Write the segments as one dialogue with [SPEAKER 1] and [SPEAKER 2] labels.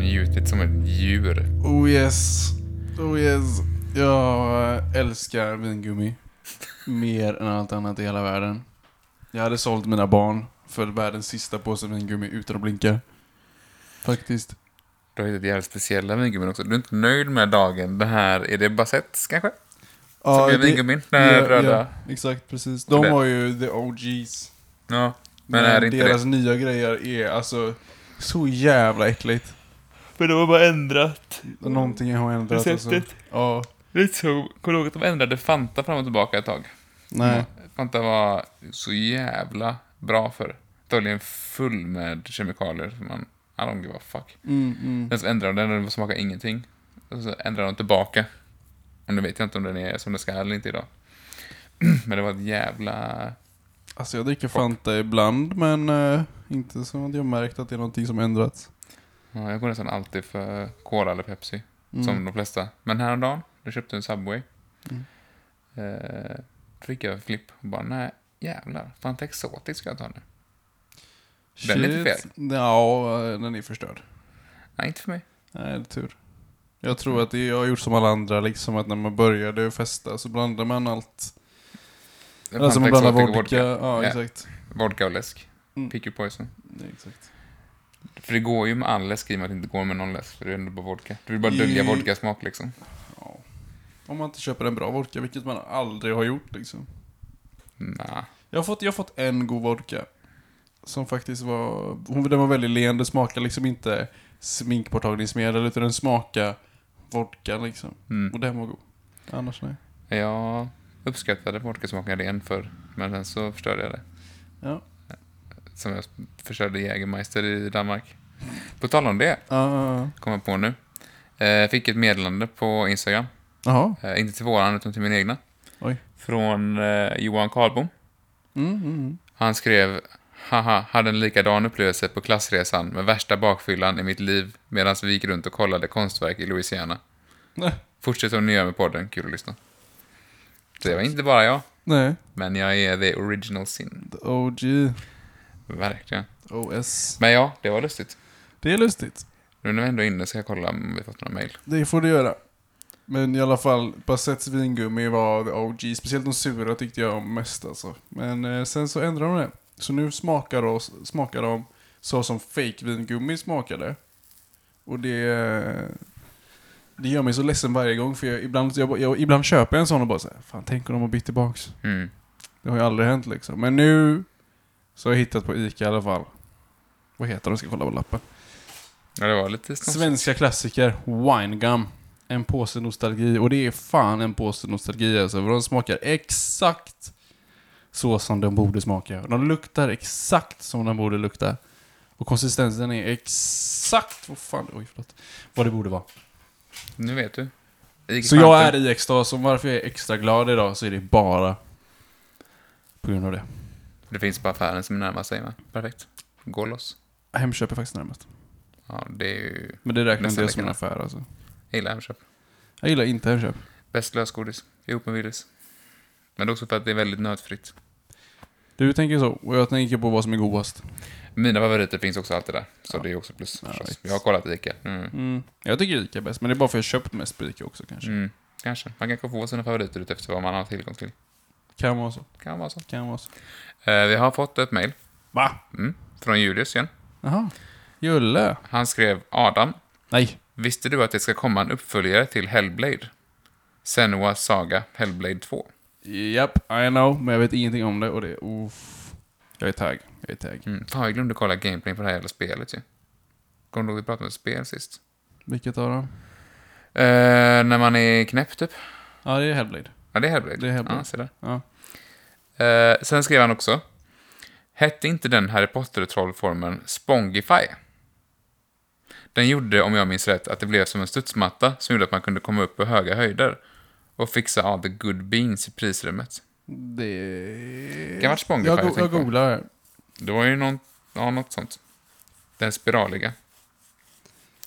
[SPEAKER 1] njutit som ett djur.
[SPEAKER 2] Oh yes. Oh yes. Jag älskar vingummi. Mer än allt annat i hela världen. Jag hade sålt mina barn för världens sista påse vingummi utan att blinka. Faktiskt.
[SPEAKER 1] Du har hittat jävligt speciella vingummin också. Du är inte nöjd med dagen. Det här, är det Bassettes kanske? Som är vingummin? Den här röda?
[SPEAKER 2] exakt, precis. De
[SPEAKER 1] det-
[SPEAKER 2] har ju the OGs.
[SPEAKER 1] Ja. Men är det inte
[SPEAKER 2] deras
[SPEAKER 1] det?
[SPEAKER 2] nya grejer är alltså så jävla äckligt.
[SPEAKER 1] Men de har bara ändrat
[SPEAKER 2] Någonting har ändrat. Alltså. Ja.
[SPEAKER 1] Lite så. Kommer du ihåg att de ändrade Fanta fram och tillbaka ett tag? Mm,
[SPEAKER 2] Nej.
[SPEAKER 1] Fanta var så jävla bra för Antagligen full med kemikalier. För man, I don't give a fuck.
[SPEAKER 2] Mm, mm.
[SPEAKER 1] Sen så ändrade de den och den smakade ingenting. Och så ändrade de tillbaka. Och nu vet jag inte om den är som den ska eller inte idag. Men det var ett jävla...
[SPEAKER 2] Alltså jag dricker Fanta ibland men eh, inte som att jag märkt att det är någonting som ändrats.
[SPEAKER 1] Ja, Jag går nästan alltid för Cola eller Pepsi.
[SPEAKER 2] Mm.
[SPEAKER 1] Som de flesta. Men häromdagen, då köpte jag en Subway.
[SPEAKER 2] Mm.
[SPEAKER 1] Eh, fick jag en flipp och bara, nej jävlar. Fanta Exotic ska jag ta nu. den är lite
[SPEAKER 2] Shit. Ja, den är förstörd.
[SPEAKER 1] Nej, inte för mig.
[SPEAKER 2] Nej, det är tur. Jag tror att det- jag har gjort som alla andra, liksom att när man började festa så blandade man allt.
[SPEAKER 1] Fanta
[SPEAKER 2] Alltså man blandar
[SPEAKER 1] Exotic
[SPEAKER 2] vodka.
[SPEAKER 1] och
[SPEAKER 2] Ja,
[SPEAKER 1] Ja.
[SPEAKER 2] exakt.
[SPEAKER 1] Vodka och läsk.
[SPEAKER 2] Mm.
[SPEAKER 1] Pick your poison.
[SPEAKER 2] Ja, exakt.
[SPEAKER 1] För det går ju med all läsk i och med att det inte går med någon läsk. För det är ändå bara vodka. Du vill bara dölja
[SPEAKER 2] I-
[SPEAKER 1] vodkasmak liksom.
[SPEAKER 2] Ja. Om man inte köper en bra vodka, vilket man aldrig har gjort liksom.
[SPEAKER 1] Nah.
[SPEAKER 2] Jag har fått, jag har fått en god vodka. Som faktiskt var, hon, den var väldigt len, det smakade liksom inte sminkborttagningsmedel utan den smakade vodka liksom.
[SPEAKER 1] Mm.
[SPEAKER 2] Och den var god. Annars nej.
[SPEAKER 1] Jag uppskattade vodkasmaken ren för men sen så förstörde jag det.
[SPEAKER 2] Ja.
[SPEAKER 1] Som jag förstörde Jägermeister i Danmark. På tal om det,
[SPEAKER 2] Uh,
[SPEAKER 1] kom jag på nu. Eh, fick ett meddelande på Instagram.
[SPEAKER 2] jaha.
[SPEAKER 1] Eh, inte till våran, utan till min egna.
[SPEAKER 2] Oj.
[SPEAKER 1] Från eh, Johan Karlbom.
[SPEAKER 2] Mm, mm, mm.
[SPEAKER 1] Han skrev Haha, hade en likadan upplevelse på klassresan med värsta bakfyllan i mitt liv medan vi gick runt och kollade konstverk i Louisiana.
[SPEAKER 2] Nej.
[SPEAKER 1] Fortsätt som ni gör med podden, kul att lyssna. Så det var inte bara jag,
[SPEAKER 2] Nej.
[SPEAKER 1] men jag är the original sin.
[SPEAKER 2] The OG.
[SPEAKER 1] Verkligen.
[SPEAKER 2] OS.
[SPEAKER 1] Men ja, det var lustigt.
[SPEAKER 2] Det är lustigt.
[SPEAKER 1] Nu när vi ändå är inne ska jag kolla om vi fått några mejl.
[SPEAKER 2] Det får du göra. Men i alla fall, Bassettes vingummi var the OG. Speciellt de sura tyckte jag om mest alltså. Men eh, sen så ändrade de det. Så nu smakar de, smakar de så som fake vingummi smakade. Och det... eh, Det gör mig så ledsen varje gång för jag, ibland, jag, jag, ibland köper jag en sån och bara såhär, fan tänk om de har bytt tillbaks.
[SPEAKER 1] Mm.
[SPEAKER 2] Det har ju aldrig hänt liksom. Men nu så har jag hittat på Ica i alla fall. Vad heter de? Ska kolla på lappen.
[SPEAKER 1] Ja, det var lite snabbt.
[SPEAKER 2] Svenska klassiker, winegum. En påse nostalgi, och det är fan en påse nostalgi alltså, för de smakar exakt så som de borde smaka. De luktar exakt som de borde lukta. Och konsistensen är exakt vad fan, oj förlåt, vad det borde vara.
[SPEAKER 1] Nu vet du. Gick
[SPEAKER 2] Så jag är
[SPEAKER 1] kvanten.
[SPEAKER 2] i extas, och varför jag är extra glad idag så är det bara på grund av det.
[SPEAKER 1] Det finns på affären som är närmast sig, va? Perfekt. Gå loss.
[SPEAKER 2] Hemköp är faktiskt närmast.
[SPEAKER 1] Ja, det är ju...
[SPEAKER 2] Men det räknar inte
[SPEAKER 1] Nästan
[SPEAKER 2] jag som en
[SPEAKER 1] likadant.
[SPEAKER 2] affär alltså.
[SPEAKER 1] Jag gillar Hemköp.
[SPEAKER 2] Jag gillar inte Hemköp.
[SPEAKER 1] Bäst lösgodis. Ihop med Willys. Men det är också för att det är väldigt nötfritt.
[SPEAKER 2] Du tänker så, och jag tänker på vad som är godast.
[SPEAKER 1] Mina favoriter finns också alltid där. Så
[SPEAKER 2] Ja.
[SPEAKER 1] det är också plus.
[SPEAKER 2] Ja,
[SPEAKER 1] förstås.
[SPEAKER 2] visst.
[SPEAKER 1] jag har kollat Ica. Mm.
[SPEAKER 2] Mm. Jag tycker Ica är bäst, men det är bara för att jag köpt mest på Ica också kanske.
[SPEAKER 1] Mm. Kanske. Man kan få sina favoriter utefter vad man har tillgång till.
[SPEAKER 2] Kan vara så.
[SPEAKER 1] Kan vara så.
[SPEAKER 2] Kan vara så.
[SPEAKER 1] Eh, vi har fått ett mejl.
[SPEAKER 2] Va?
[SPEAKER 1] Mm. Från Julius igen.
[SPEAKER 2] Jaha. Julle?
[SPEAKER 1] Han skrev Adam.
[SPEAKER 2] Nej.
[SPEAKER 1] Visste du att det ska komma en uppföljare till Hellblade? Senuas saga Hellblade 2.
[SPEAKER 2] Japp, I know, men jag vet ingenting om det och det är uff. Jag är tagg. Jag är tagg.
[SPEAKER 1] Mm. Fan, jag glömde kolla gameplay på det här jävla spelet ju. Kommer du ihåg vi pratade om spel sist?
[SPEAKER 2] Vilket av dem?
[SPEAKER 1] Eh, när man är knäpp typ.
[SPEAKER 2] Ja, det är Hellblade.
[SPEAKER 1] Ja, det är Hellblade.
[SPEAKER 2] Det är Hellblade.
[SPEAKER 1] Ja, se där.
[SPEAKER 2] Ja.
[SPEAKER 1] Eh, sen skrev han också. Hette inte den Harry Potter-trollformen Spongify? Den gjorde, om jag minns rätt, att det blev som en studsmatta som gjorde att man kunde komma upp på höga höjder och fixa all the good beans i prisrummet.
[SPEAKER 2] Det...
[SPEAKER 1] Kan ha varit Spongify,
[SPEAKER 2] Jag,
[SPEAKER 1] jag
[SPEAKER 2] go- jag
[SPEAKER 1] tänker på.
[SPEAKER 2] googlar här.
[SPEAKER 1] Det var ju någon, ja, något sånt. Den spiraliga.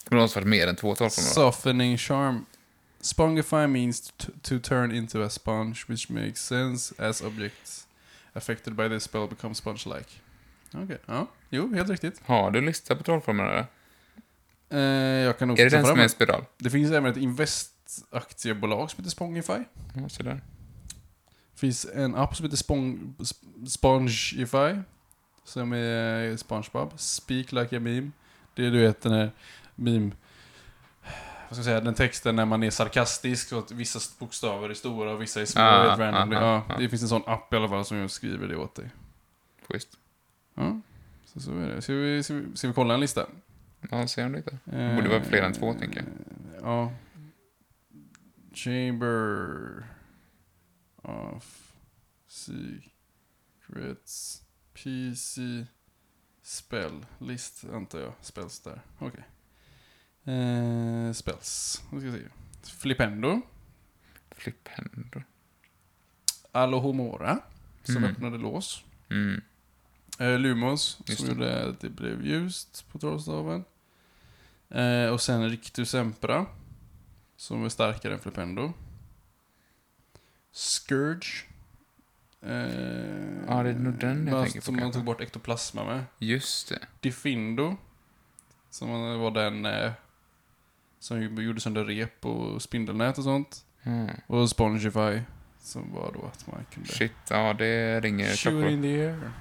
[SPEAKER 1] Det var någon som varit mer än två trollformer. va?
[SPEAKER 2] Softening charm. Spongify means t- to turn into a sponge, which makes sense as objects affected by this spell become sponge-like. Okej, ja. Jo, helt riktigt.
[SPEAKER 1] Har du lista på trollformer eller?
[SPEAKER 2] Eh, jag kan nog
[SPEAKER 1] Är det
[SPEAKER 2] ta
[SPEAKER 1] den
[SPEAKER 2] fram
[SPEAKER 1] som är en spiral?
[SPEAKER 2] Det finns även ett investaktiebolag som heter Spongify.
[SPEAKER 1] Ja, så där.
[SPEAKER 2] Det finns en app som heter Spong, Sp- Spongify. Som är Spongebob. Speak like a meme. Det är du vet den här meme... Vad ska jag säga? Den texten när man är sarkastisk. Så att vissa bokstäver är stora och vissa är små.
[SPEAKER 1] Ah,
[SPEAKER 2] helt random.
[SPEAKER 1] ah,
[SPEAKER 2] ja,
[SPEAKER 1] ah.
[SPEAKER 2] Det finns en sån app i alla fall som jag skriver det åt dig.
[SPEAKER 1] Schysst.
[SPEAKER 2] Ja. Så, så är det. Ska vi, ska vi, ska vi kolla en lista?
[SPEAKER 1] Ja, se om det inte. borde vara fler än två,
[SPEAKER 2] Eh,
[SPEAKER 1] tänker jag.
[SPEAKER 2] Ja. Chamber of Secrets PC Spell list antar jag. Spells där. Okej. Eh, spells. Nu ska vi se. Flipendo.
[SPEAKER 1] Flippendo.
[SPEAKER 2] Alohomora. Som
[SPEAKER 1] Mm.
[SPEAKER 2] öppnade lås.
[SPEAKER 1] Mm.
[SPEAKER 2] Eh, Lumos.
[SPEAKER 1] Just
[SPEAKER 2] som
[SPEAKER 1] det.
[SPEAKER 2] gjorde att det blev ljust på trollstaven. Eh, och sen Rictus Empra. Som är starkare än Flipendo. Scourge. Eh,
[SPEAKER 1] Ja, det är nog den jag
[SPEAKER 2] man-
[SPEAKER 1] tänker på
[SPEAKER 2] Som man
[SPEAKER 1] kanske.
[SPEAKER 2] tog bort ektoplasma med.
[SPEAKER 1] Just det.
[SPEAKER 2] Defindo. Som var den eh, som ju gjorde sönder rep och spindelnät och sånt.
[SPEAKER 1] Mm.
[SPEAKER 2] Och Spongify. Som var då att man kunde...
[SPEAKER 1] Shit, ja det ringer
[SPEAKER 2] Shoot
[SPEAKER 1] klockor.
[SPEAKER 2] in the air.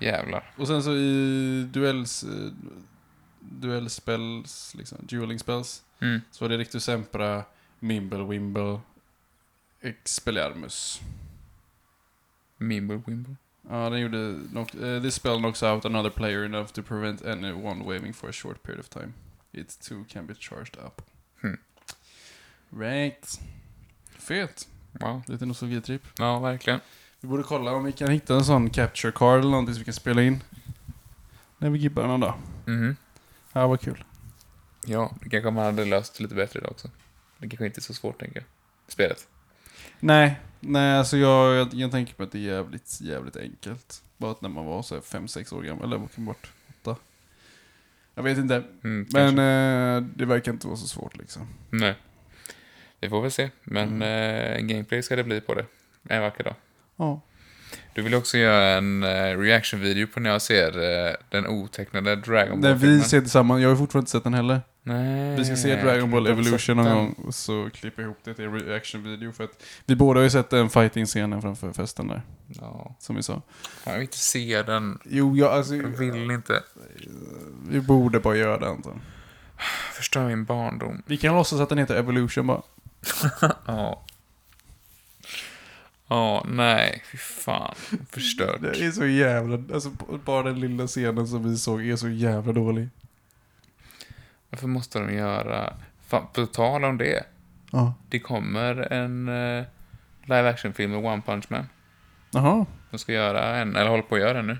[SPEAKER 1] Jävlar.
[SPEAKER 2] Och sen så i duells... eh, Duellspells, liksom. Dueling spells.
[SPEAKER 1] Mm.
[SPEAKER 2] Så var det Rictus Sempra, Mimble Wimble, Expelliarmus.
[SPEAKER 1] Mimble Wimble.
[SPEAKER 2] Ja, den gjorde... Knock, eh, this spell knocks out another player enough to prevent anyone waving for a short period of time. It too can be charged up.
[SPEAKER 1] Hmm.
[SPEAKER 2] Right. Fet.
[SPEAKER 1] Wow.
[SPEAKER 2] Lite nostalgitripp.
[SPEAKER 1] Ja, verkligen.
[SPEAKER 2] Vi borde kolla om vi kan hitta en sån capture card eller någonting som vi kan spela in. När vi gibbar någon dag.
[SPEAKER 1] Mhm.
[SPEAKER 2] Ja, vad kul.
[SPEAKER 1] Ja, det kanske man hade löst lite bättre idag också. Det kanske inte är så svårt, tänker jag. Spelet.
[SPEAKER 2] Nej, nej alltså jag, jag, jag tänker på att det är jävligt, jävligt enkelt. Bara att när man var så här 5-6 år gammal, eller vad kan det vara? åtta. Jag vet inte,
[SPEAKER 1] Mm,
[SPEAKER 2] men
[SPEAKER 1] kanske.
[SPEAKER 2] eh, det verkar inte vara så svårt liksom.
[SPEAKER 1] Nej. Vi får väl se. Men eh, en gameplay ska det bli på det. En vacker dag.
[SPEAKER 2] Ja.
[SPEAKER 1] Du vill också göra en eh, reaction-video på när jag ser eh, den otecknade Dragon
[SPEAKER 2] När vi
[SPEAKER 1] Ball-filmen.
[SPEAKER 2] ser tillsammans, jag har ju fortfarande inte sett den heller.
[SPEAKER 1] Nej.
[SPEAKER 2] Vi ska se Dragon Ball
[SPEAKER 1] Jag har inte
[SPEAKER 2] Evolution
[SPEAKER 1] sett
[SPEAKER 2] någon
[SPEAKER 1] den.
[SPEAKER 2] gång och så klippa ihop det till en reaction-video för att vi båda har ju sett den fighting-scenen framför festen där,
[SPEAKER 1] Ja.
[SPEAKER 2] som vi sa.
[SPEAKER 1] Fan, jag vill inte se den.
[SPEAKER 2] Jo, jag, alltså,
[SPEAKER 1] Jag vill inte.
[SPEAKER 2] vi borde bara göra det Anton.
[SPEAKER 1] Förstör min barndom.
[SPEAKER 2] Vi kan låtsas att den heter Evolution bara.
[SPEAKER 1] Ja. Ja, nej. Fy fan. Förstört.
[SPEAKER 2] Det är så jävla... Alltså bara den lilla scenen som vi såg är så jävla dålig.
[SPEAKER 1] Varför måste de göra... Fan, på tal om det.
[SPEAKER 2] Ja.
[SPEAKER 1] Det kommer en eh, live action-film med One Punch Man.
[SPEAKER 2] Jaha.
[SPEAKER 1] De ska göra en, eller håller på att göra en nu.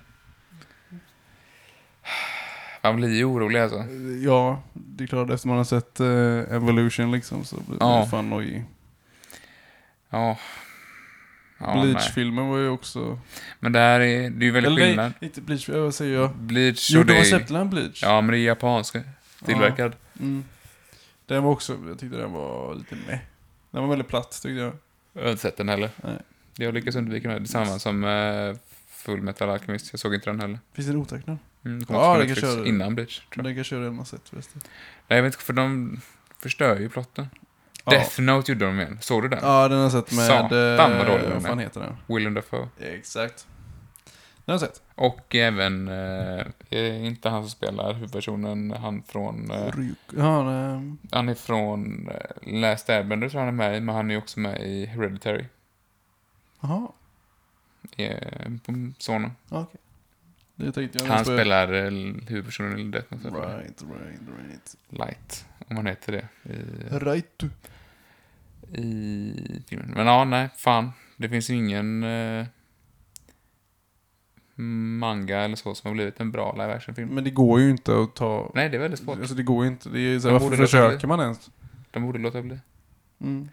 [SPEAKER 1] Man blir ju orolig alltså.
[SPEAKER 2] Eh, Ja, det är klart efter man har sett eh, Evolution liksom så blir man
[SPEAKER 1] Ja.
[SPEAKER 2] ju fan nojig.
[SPEAKER 1] Ja. ja nej.
[SPEAKER 2] Bleach-filmen var ju också...
[SPEAKER 1] Men det här är, det är ju väldigt
[SPEAKER 2] Eller
[SPEAKER 1] skillnad.
[SPEAKER 2] nej, inte Bleach, eh, vad säger jag?
[SPEAKER 1] Bleach
[SPEAKER 2] Jo,
[SPEAKER 1] och
[SPEAKER 2] de har
[SPEAKER 1] det
[SPEAKER 2] släppt
[SPEAKER 1] är,
[SPEAKER 2] den Bleach.
[SPEAKER 1] Ja, men det är japansk tillverkad.
[SPEAKER 2] Mm. Den var också... Jag tyckte den var lite med. Den var väldigt platt tyckte jag.
[SPEAKER 1] Jag har inte sett den heller.
[SPEAKER 2] Nej.
[SPEAKER 1] Jag lyckas undvika den. här. Det är samma som uh, Full Metal Alchemist. Jag såg inte den heller.
[SPEAKER 2] Finns det en otecknad?
[SPEAKER 1] Mm,
[SPEAKER 2] Ja,
[SPEAKER 1] ja,
[SPEAKER 2] det
[SPEAKER 1] det kanske
[SPEAKER 2] kanske är det.
[SPEAKER 1] Innan Bleach, tror jag.
[SPEAKER 2] Den kanske jag redan har sett förresten.
[SPEAKER 1] Nej, jag vet inte, för de förstör ju plotten.
[SPEAKER 2] Ja.
[SPEAKER 1] Death Note gjorde de igen. Såg du den?
[SPEAKER 2] Ja, den har jag sett med...
[SPEAKER 1] Satan, vad
[SPEAKER 2] eh,
[SPEAKER 1] dålig den
[SPEAKER 2] Vad fan
[SPEAKER 1] är.
[SPEAKER 2] heter den?
[SPEAKER 1] Willem Dafoe.
[SPEAKER 2] Exakt. Den har jag sett.
[SPEAKER 1] Och även, eh, är inte han som spelar huvudpersonen, han från... Eh,
[SPEAKER 2] Ryk. Ja, nej.
[SPEAKER 1] han är från eh, Last Airbender tror jag han är med i, men han är ju också med i Hereditary.
[SPEAKER 2] Jaha,
[SPEAKER 1] Eh, på- sonen.
[SPEAKER 2] okej. Det tänkte jag.
[SPEAKER 1] Han
[SPEAKER 2] nästan-
[SPEAKER 1] spelar eh, huvudpersonen i Death Note. eller?
[SPEAKER 2] Right, right, right.
[SPEAKER 1] Light, om han heter det. I,
[SPEAKER 2] Right du.
[SPEAKER 1] i filmen. Men ja, nej, fan. Det finns ju ingen eh, manga eller så som har blivit en bra live action-film.
[SPEAKER 2] Men det går ju inte att ta...
[SPEAKER 1] Nej, det är väldigt svårt.
[SPEAKER 2] Alltså det går ju inte. Det är, så här,
[SPEAKER 1] De
[SPEAKER 2] varför
[SPEAKER 1] borde låta
[SPEAKER 2] försöker
[SPEAKER 1] bli.
[SPEAKER 2] man ens?
[SPEAKER 1] De borde låta bli.
[SPEAKER 2] Mm.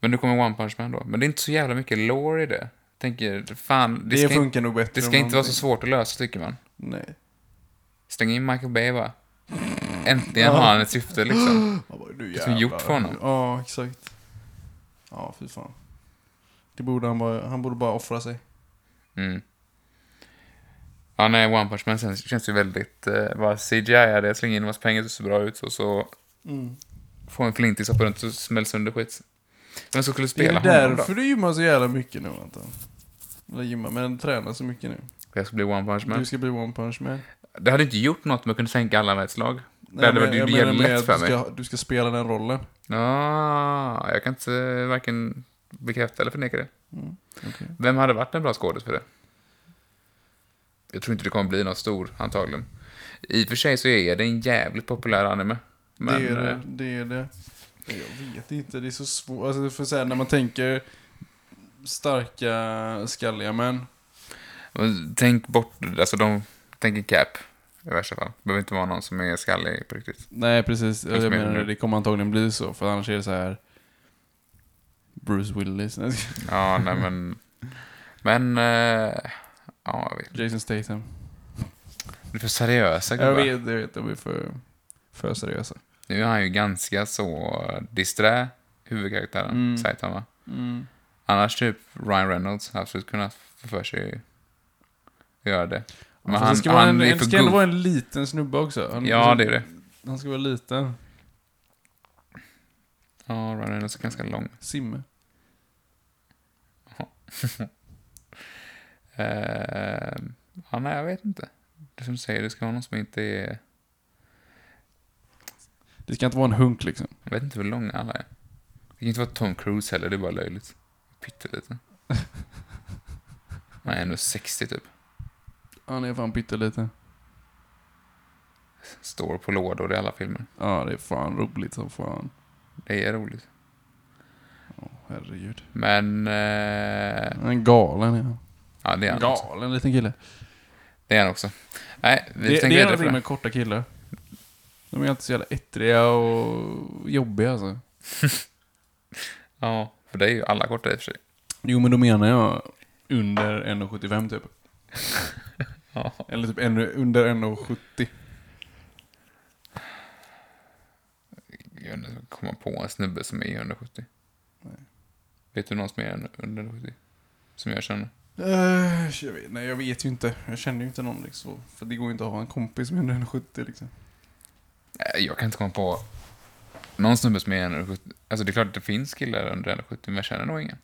[SPEAKER 1] Men nu kommer One Punch Man då. Men det är inte så jävla mycket lore i det. Tänker, fan, det,
[SPEAKER 2] Det,
[SPEAKER 1] ska, inte,
[SPEAKER 2] funkar nog bättre.
[SPEAKER 1] det
[SPEAKER 2] än
[SPEAKER 1] ska inte vara så
[SPEAKER 2] någonting.
[SPEAKER 1] svårt att lösa tycker man.
[SPEAKER 2] Nej.
[SPEAKER 1] Stäng in Michael Bay bara. Äntligen
[SPEAKER 2] Ja.
[SPEAKER 1] har han ett syfte liksom.
[SPEAKER 2] Ja, bara, du
[SPEAKER 1] Det är som gjort för honom.
[SPEAKER 2] Ja, exakt. Ja, fy fan. Det borde han bara... Han borde bara offra sig.
[SPEAKER 1] Mm. Ja, nej, One Punch Man sen känns ju väldigt... Eh, bara CGI, hade jag slänger in en massa pengar, det ser bra ut och så
[SPEAKER 2] Mm.
[SPEAKER 1] får en flintis hoppa runt och smäller sönder skit. Vem som skulle
[SPEAKER 2] Det
[SPEAKER 1] spela
[SPEAKER 2] är
[SPEAKER 1] honom
[SPEAKER 2] därför du gymmar så jävla mycket nu Anton. Eller gymmar, men tränar så mycket nu.
[SPEAKER 1] då? Jag ska bli One Punch Man.
[SPEAKER 2] Du ska bli one punch man.
[SPEAKER 1] Det hade inte gjort något om jag kunde sänka alla med ett slag.
[SPEAKER 2] Nej,
[SPEAKER 1] hade
[SPEAKER 2] men
[SPEAKER 1] varit- det
[SPEAKER 2] jag
[SPEAKER 1] är ju
[SPEAKER 2] menar med
[SPEAKER 1] lätt
[SPEAKER 2] att
[SPEAKER 1] för
[SPEAKER 2] du ska, du ska spela den rollen.
[SPEAKER 1] Ah, jag kan inte eh, varken bekräfta eller förneka det.
[SPEAKER 2] Mm, okej.
[SPEAKER 1] Vem hade varit en bra skådis för det? Jag tror inte det kommer bli någon stor, antagligen. I och för sig så är det en jävligt populär anime. Men,
[SPEAKER 2] det är
[SPEAKER 1] eh,
[SPEAKER 2] det, det är det. Jag vet inte, det är så svårt. Alltså, för så här, när man tänker starka, skalliga män.
[SPEAKER 1] men Tänk bort, alltså de, tänk en cap i värsta fall. Det behöver inte vara någon som är skallig på riktigt.
[SPEAKER 2] Nej, precis. Jag,
[SPEAKER 1] Kanske mer
[SPEAKER 2] menar,
[SPEAKER 1] nu.
[SPEAKER 2] det kommer antagligen bli så, för annars är det så här... Bruce Willis, Nej,
[SPEAKER 1] Ja, nej men... Men, eh, ja, jag vet.
[SPEAKER 2] Jason Statham.
[SPEAKER 1] Det är för seriösa
[SPEAKER 2] Jag
[SPEAKER 1] gubbar.
[SPEAKER 2] vet, jag vet. De är för, för seriösa.
[SPEAKER 1] Nu är han ju ganska så disträ, huvudkaraktären,
[SPEAKER 2] Mm.
[SPEAKER 1] Saitama. Annars typ Ryan Reynolds har absolut kunnat få för sig att göra det. Men
[SPEAKER 2] Fast
[SPEAKER 1] han,
[SPEAKER 2] det ska, vara
[SPEAKER 1] han
[SPEAKER 2] en,
[SPEAKER 1] är
[SPEAKER 2] en,
[SPEAKER 1] för
[SPEAKER 2] ska ändå
[SPEAKER 1] goof.
[SPEAKER 2] vara en liten snubbe också. Han,
[SPEAKER 1] Ja, det är det.
[SPEAKER 2] Han ska vara liten.
[SPEAKER 1] Ja, Ryan Reynolds är ganska lång.
[SPEAKER 2] Simme.
[SPEAKER 1] Eh, ja, nej, jag vet inte. Det som du säger, det ska vara någon som inte är...
[SPEAKER 2] Det ska inte vara en hunk liksom.
[SPEAKER 1] Jag vet inte hur långa alla är. Det kan inte vara Tom Cruise heller, det är bara löjligt. Pytteliten. Nej, ändå 60 typ.
[SPEAKER 2] Han är fan pytteliten.
[SPEAKER 1] Står på lådor i alla filmer.
[SPEAKER 2] Ja, det är fan roligt som fan.
[SPEAKER 1] Det är roligt.
[SPEAKER 2] Åh, herregud.
[SPEAKER 1] Men... Eh,
[SPEAKER 2] Äh. Han är galen, ja.
[SPEAKER 1] ja, det är han också.
[SPEAKER 2] Galen liten kille.
[SPEAKER 1] Det är han också. Nej, vi
[SPEAKER 2] Det,
[SPEAKER 1] tänker
[SPEAKER 2] det är
[SPEAKER 1] vidare för
[SPEAKER 2] någonting
[SPEAKER 1] det.
[SPEAKER 2] med korta killar. De är alltid så jävla ettriga och jobbiga alltså.
[SPEAKER 1] Ja, för det är ju alla korta i och för sig.
[SPEAKER 2] Jo, men då menar jag under 1,75 typ.
[SPEAKER 1] Ja.
[SPEAKER 2] Eller typ ännu under 1,70.
[SPEAKER 1] Jag undrar om jag kommer på en snubbe som är 170.
[SPEAKER 2] Nej.
[SPEAKER 1] Vet du någon som är under 170? Som jag känner?
[SPEAKER 2] Eh, jag vet, nej, jag vet ju inte. Jag känner ju inte någon liksom. För det går ju inte att ha en kompis med under 1,70 liksom.
[SPEAKER 1] Nej, Jag kan inte komma på någon snubbe som är 170. Alltså det är klart att det finns killar under 170, men jag känner nog ingen.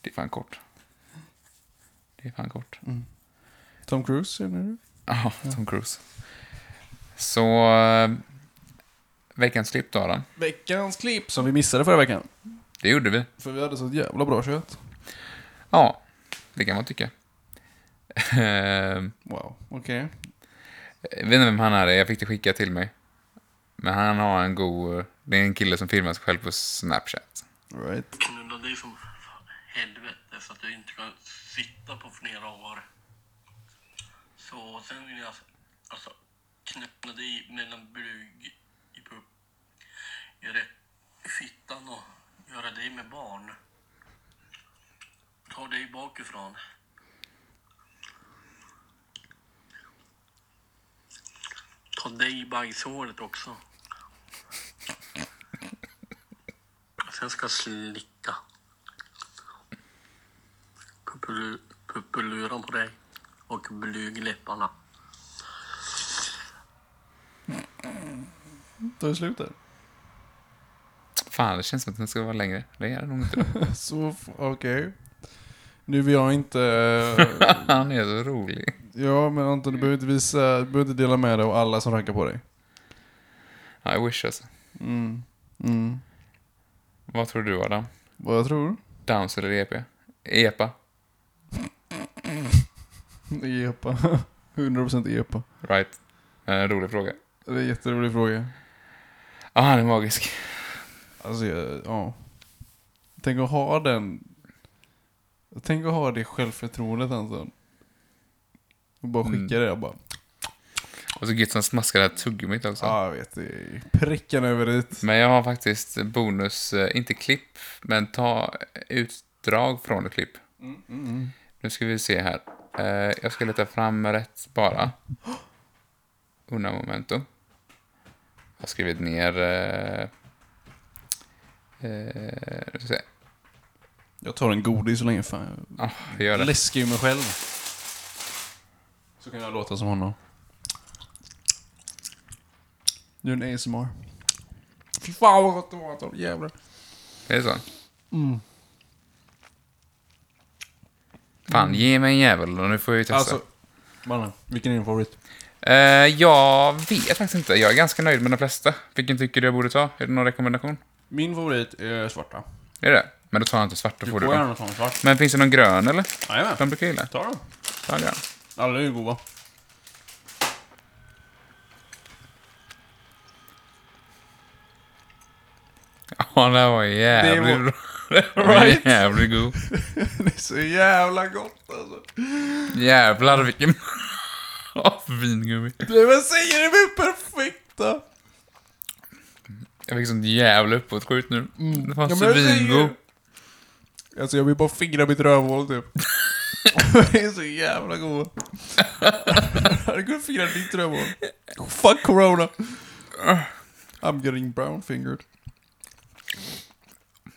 [SPEAKER 1] Det är fan kort. Det är fan kort.
[SPEAKER 2] Tom Cruise, känner du?
[SPEAKER 1] Ja, Tom Cruise. Så... eh, Veckans klipp då, Adam.
[SPEAKER 2] Veckans klipp som vi missade förra veckan.
[SPEAKER 1] Det gjorde vi.
[SPEAKER 2] För vi hade så jävla bra kött.
[SPEAKER 1] Ja, det kan man tycka. Ehm,
[SPEAKER 2] Wow, okej.
[SPEAKER 1] Jag vet inte vem han är, jag fick det skickat till mig. Men han har en god... Det är en kille som filmar sig själv på Snapchat.
[SPEAKER 2] Right.
[SPEAKER 3] Knulla dig som helvete så att jag inte kan sitta på flera år. Så sen vill jag alltså knulla dig mellan brygg i pupp. Göra fittan och göra dig med barn. Ta dig bakifrån. Ta dig i bajshålet också. Sen ska jag slicka. Puppelu- Puppeluran på dig och blygläpparna.
[SPEAKER 2] Tar det slut där?
[SPEAKER 1] Fan, det känns som att den ska vara längre. Det är den nog inte.
[SPEAKER 2] Så, f- okej. Nu vill jag inte...
[SPEAKER 1] han är så rolig.
[SPEAKER 2] ja, men Anton, du behöver inte visa... Du behöver inte dela med dig av alla som rankar på dig.
[SPEAKER 1] I wish alltså.
[SPEAKER 2] Mm. Mm.
[SPEAKER 1] Vad tror du Adam?
[SPEAKER 2] Vad jag tror?
[SPEAKER 1] Downs eller E EP? EPA?
[SPEAKER 2] Epa. 100% epa.
[SPEAKER 1] Right. En rolig fråga.
[SPEAKER 2] Det är en jätterolig fråga.
[SPEAKER 1] Ja, han är magisk.
[SPEAKER 2] Alltså, jag, ja. Tänk att ha den... Tänk att ha det självförtroendet, Anton. Och bara skicka
[SPEAKER 1] Mm.
[SPEAKER 2] det. Jag bara...
[SPEAKER 1] Och så gött som smaskar det här tuggummit också.
[SPEAKER 2] Ja, ah, jag vet. Det är prickarna över dit.
[SPEAKER 1] Men jag har faktiskt bonus, eh, inte klipp, men ta utdrag från ett klipp. Nu ska vi se här. Eh, Jag ska leta fram rätt bara. Una momento. Jag har skrivit ner... eh, eh, nu ska vi se.
[SPEAKER 2] Jag tar en godis så länge fan.
[SPEAKER 1] Ah, jag gör
[SPEAKER 2] Jag
[SPEAKER 1] det.
[SPEAKER 2] läskar ju mig själv. Så kan jag låta som honom. Nu är en ASMR. Fy fan vad gott det var Anton, jävlar.
[SPEAKER 1] Är det så? Fan, ge mig en jävel och nu får jag ju testa.
[SPEAKER 2] Alltså, mannen, vilken är din favorit?
[SPEAKER 1] Eh, jag vet faktiskt inte. Jag är ganska nöjd med de flesta. Vilken tycker du jag borde ta? Är det någon rekommendation?
[SPEAKER 2] Min favorit är svarta.
[SPEAKER 1] Är det Men då tar jag inte svart, då får du dem.
[SPEAKER 2] gärna ta en svart.
[SPEAKER 1] Men finns det någon grön eller? De
[SPEAKER 2] Jajamän,
[SPEAKER 1] brukar jag gilla.
[SPEAKER 2] ta dem.
[SPEAKER 1] Ta en grön.
[SPEAKER 2] Alla är ju goda.
[SPEAKER 1] Ja, den här var jävligt
[SPEAKER 2] var-
[SPEAKER 1] bra. Den var
[SPEAKER 2] Right?
[SPEAKER 1] jävligt god.
[SPEAKER 2] det är så jävla gott alltså.
[SPEAKER 1] Jävlar vilken... Åh, vingummi.
[SPEAKER 2] Nej men säger det är perfekta!
[SPEAKER 1] Jag fick sånt jävla uppåtskjut nu. Det var
[SPEAKER 2] Mm. Ja,
[SPEAKER 1] så
[SPEAKER 2] men jag säger
[SPEAKER 1] vingod.
[SPEAKER 2] ju- Alltså jag vill bara fingra mitt rövhål typ. det är så jävla god. jag hade kunnat fingra ditt rövhål. Fuck corona. I'm getting brown fingered.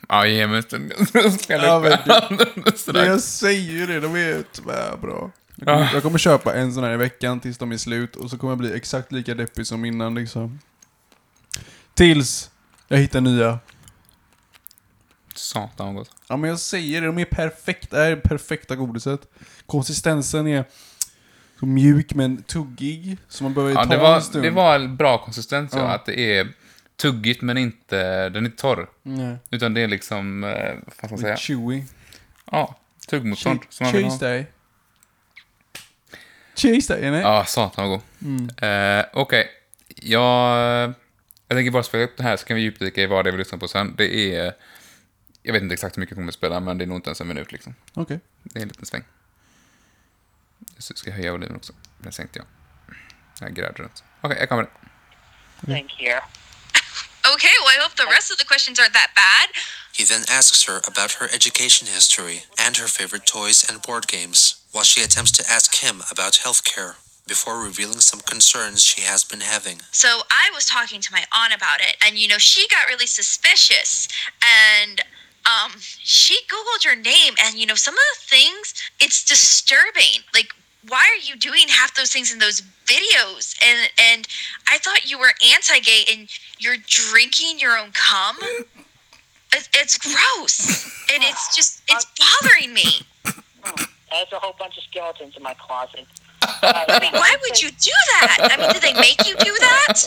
[SPEAKER 1] Ja, ge mig en stund. Jag ska spela
[SPEAKER 2] Ja,
[SPEAKER 1] upp
[SPEAKER 2] men
[SPEAKER 1] handen
[SPEAKER 2] Men
[SPEAKER 1] strax.
[SPEAKER 2] jag säger ju det, de är tvärbra. Jag
[SPEAKER 1] Ah.
[SPEAKER 2] kommer, jag kommer köpa en sån här i veckan tills de är slut och så kommer jag bli exakt lika deppig som innan liksom. Tills jag hittar nya.
[SPEAKER 1] Satan vad gott.
[SPEAKER 2] Ja men jag säger det, de är perfekta, det här är perfekta godiset. Konsistensen är så mjuk men tuggig, så man behöver
[SPEAKER 1] Ja,
[SPEAKER 2] ta
[SPEAKER 1] det
[SPEAKER 2] en
[SPEAKER 1] var,
[SPEAKER 2] stund.
[SPEAKER 1] det var en bra konsistens, ja.
[SPEAKER 2] Ja.
[SPEAKER 1] Att det är tuggigt, men inte... Den är inte torr.
[SPEAKER 2] Nej.
[SPEAKER 1] Utan det är liksom... eh, Vad fan ska man
[SPEAKER 2] Det är
[SPEAKER 1] säga?
[SPEAKER 2] chewy.
[SPEAKER 1] Ja, tuggmotstånd. som man vill ha.
[SPEAKER 2] Cheese day. Cheese day, nej?
[SPEAKER 1] Ja, satan vad god. Eh, Okej, jag, jag tänker bara spela upp det här så kan vi djupdyka i vad det är vi lyssnar på sen. Det är... Jag vet inte exakt hur mycket jag kommer att spela, men det är nog inte ens en minut liksom.
[SPEAKER 2] Okej.
[SPEAKER 1] Det är en liten sväng. Så ska jag höja volymen också. Den sänkte jag. Jag grädde runt. Okej, jag kommer.
[SPEAKER 4] Thank you.
[SPEAKER 5] Okay, well, I hope the rest of the questions aren't that bad.
[SPEAKER 6] He then asks her about her education history and her favorite toys and board games, while she attempts to ask him about healthcare before revealing some concerns she has been having.
[SPEAKER 5] So I was talking to my aunt about it, and you know, she got really suspicious and um she googled your name and you know some of the things it's disturbing like why are you doing half those things in those videos and and i thought you were anti-gay and you're drinking your own cum It's- it's gross and it's just it's bothering me
[SPEAKER 4] There's a whole bunch of skeletons in my closet. Uh,
[SPEAKER 5] why would you do that i mean did they make you do that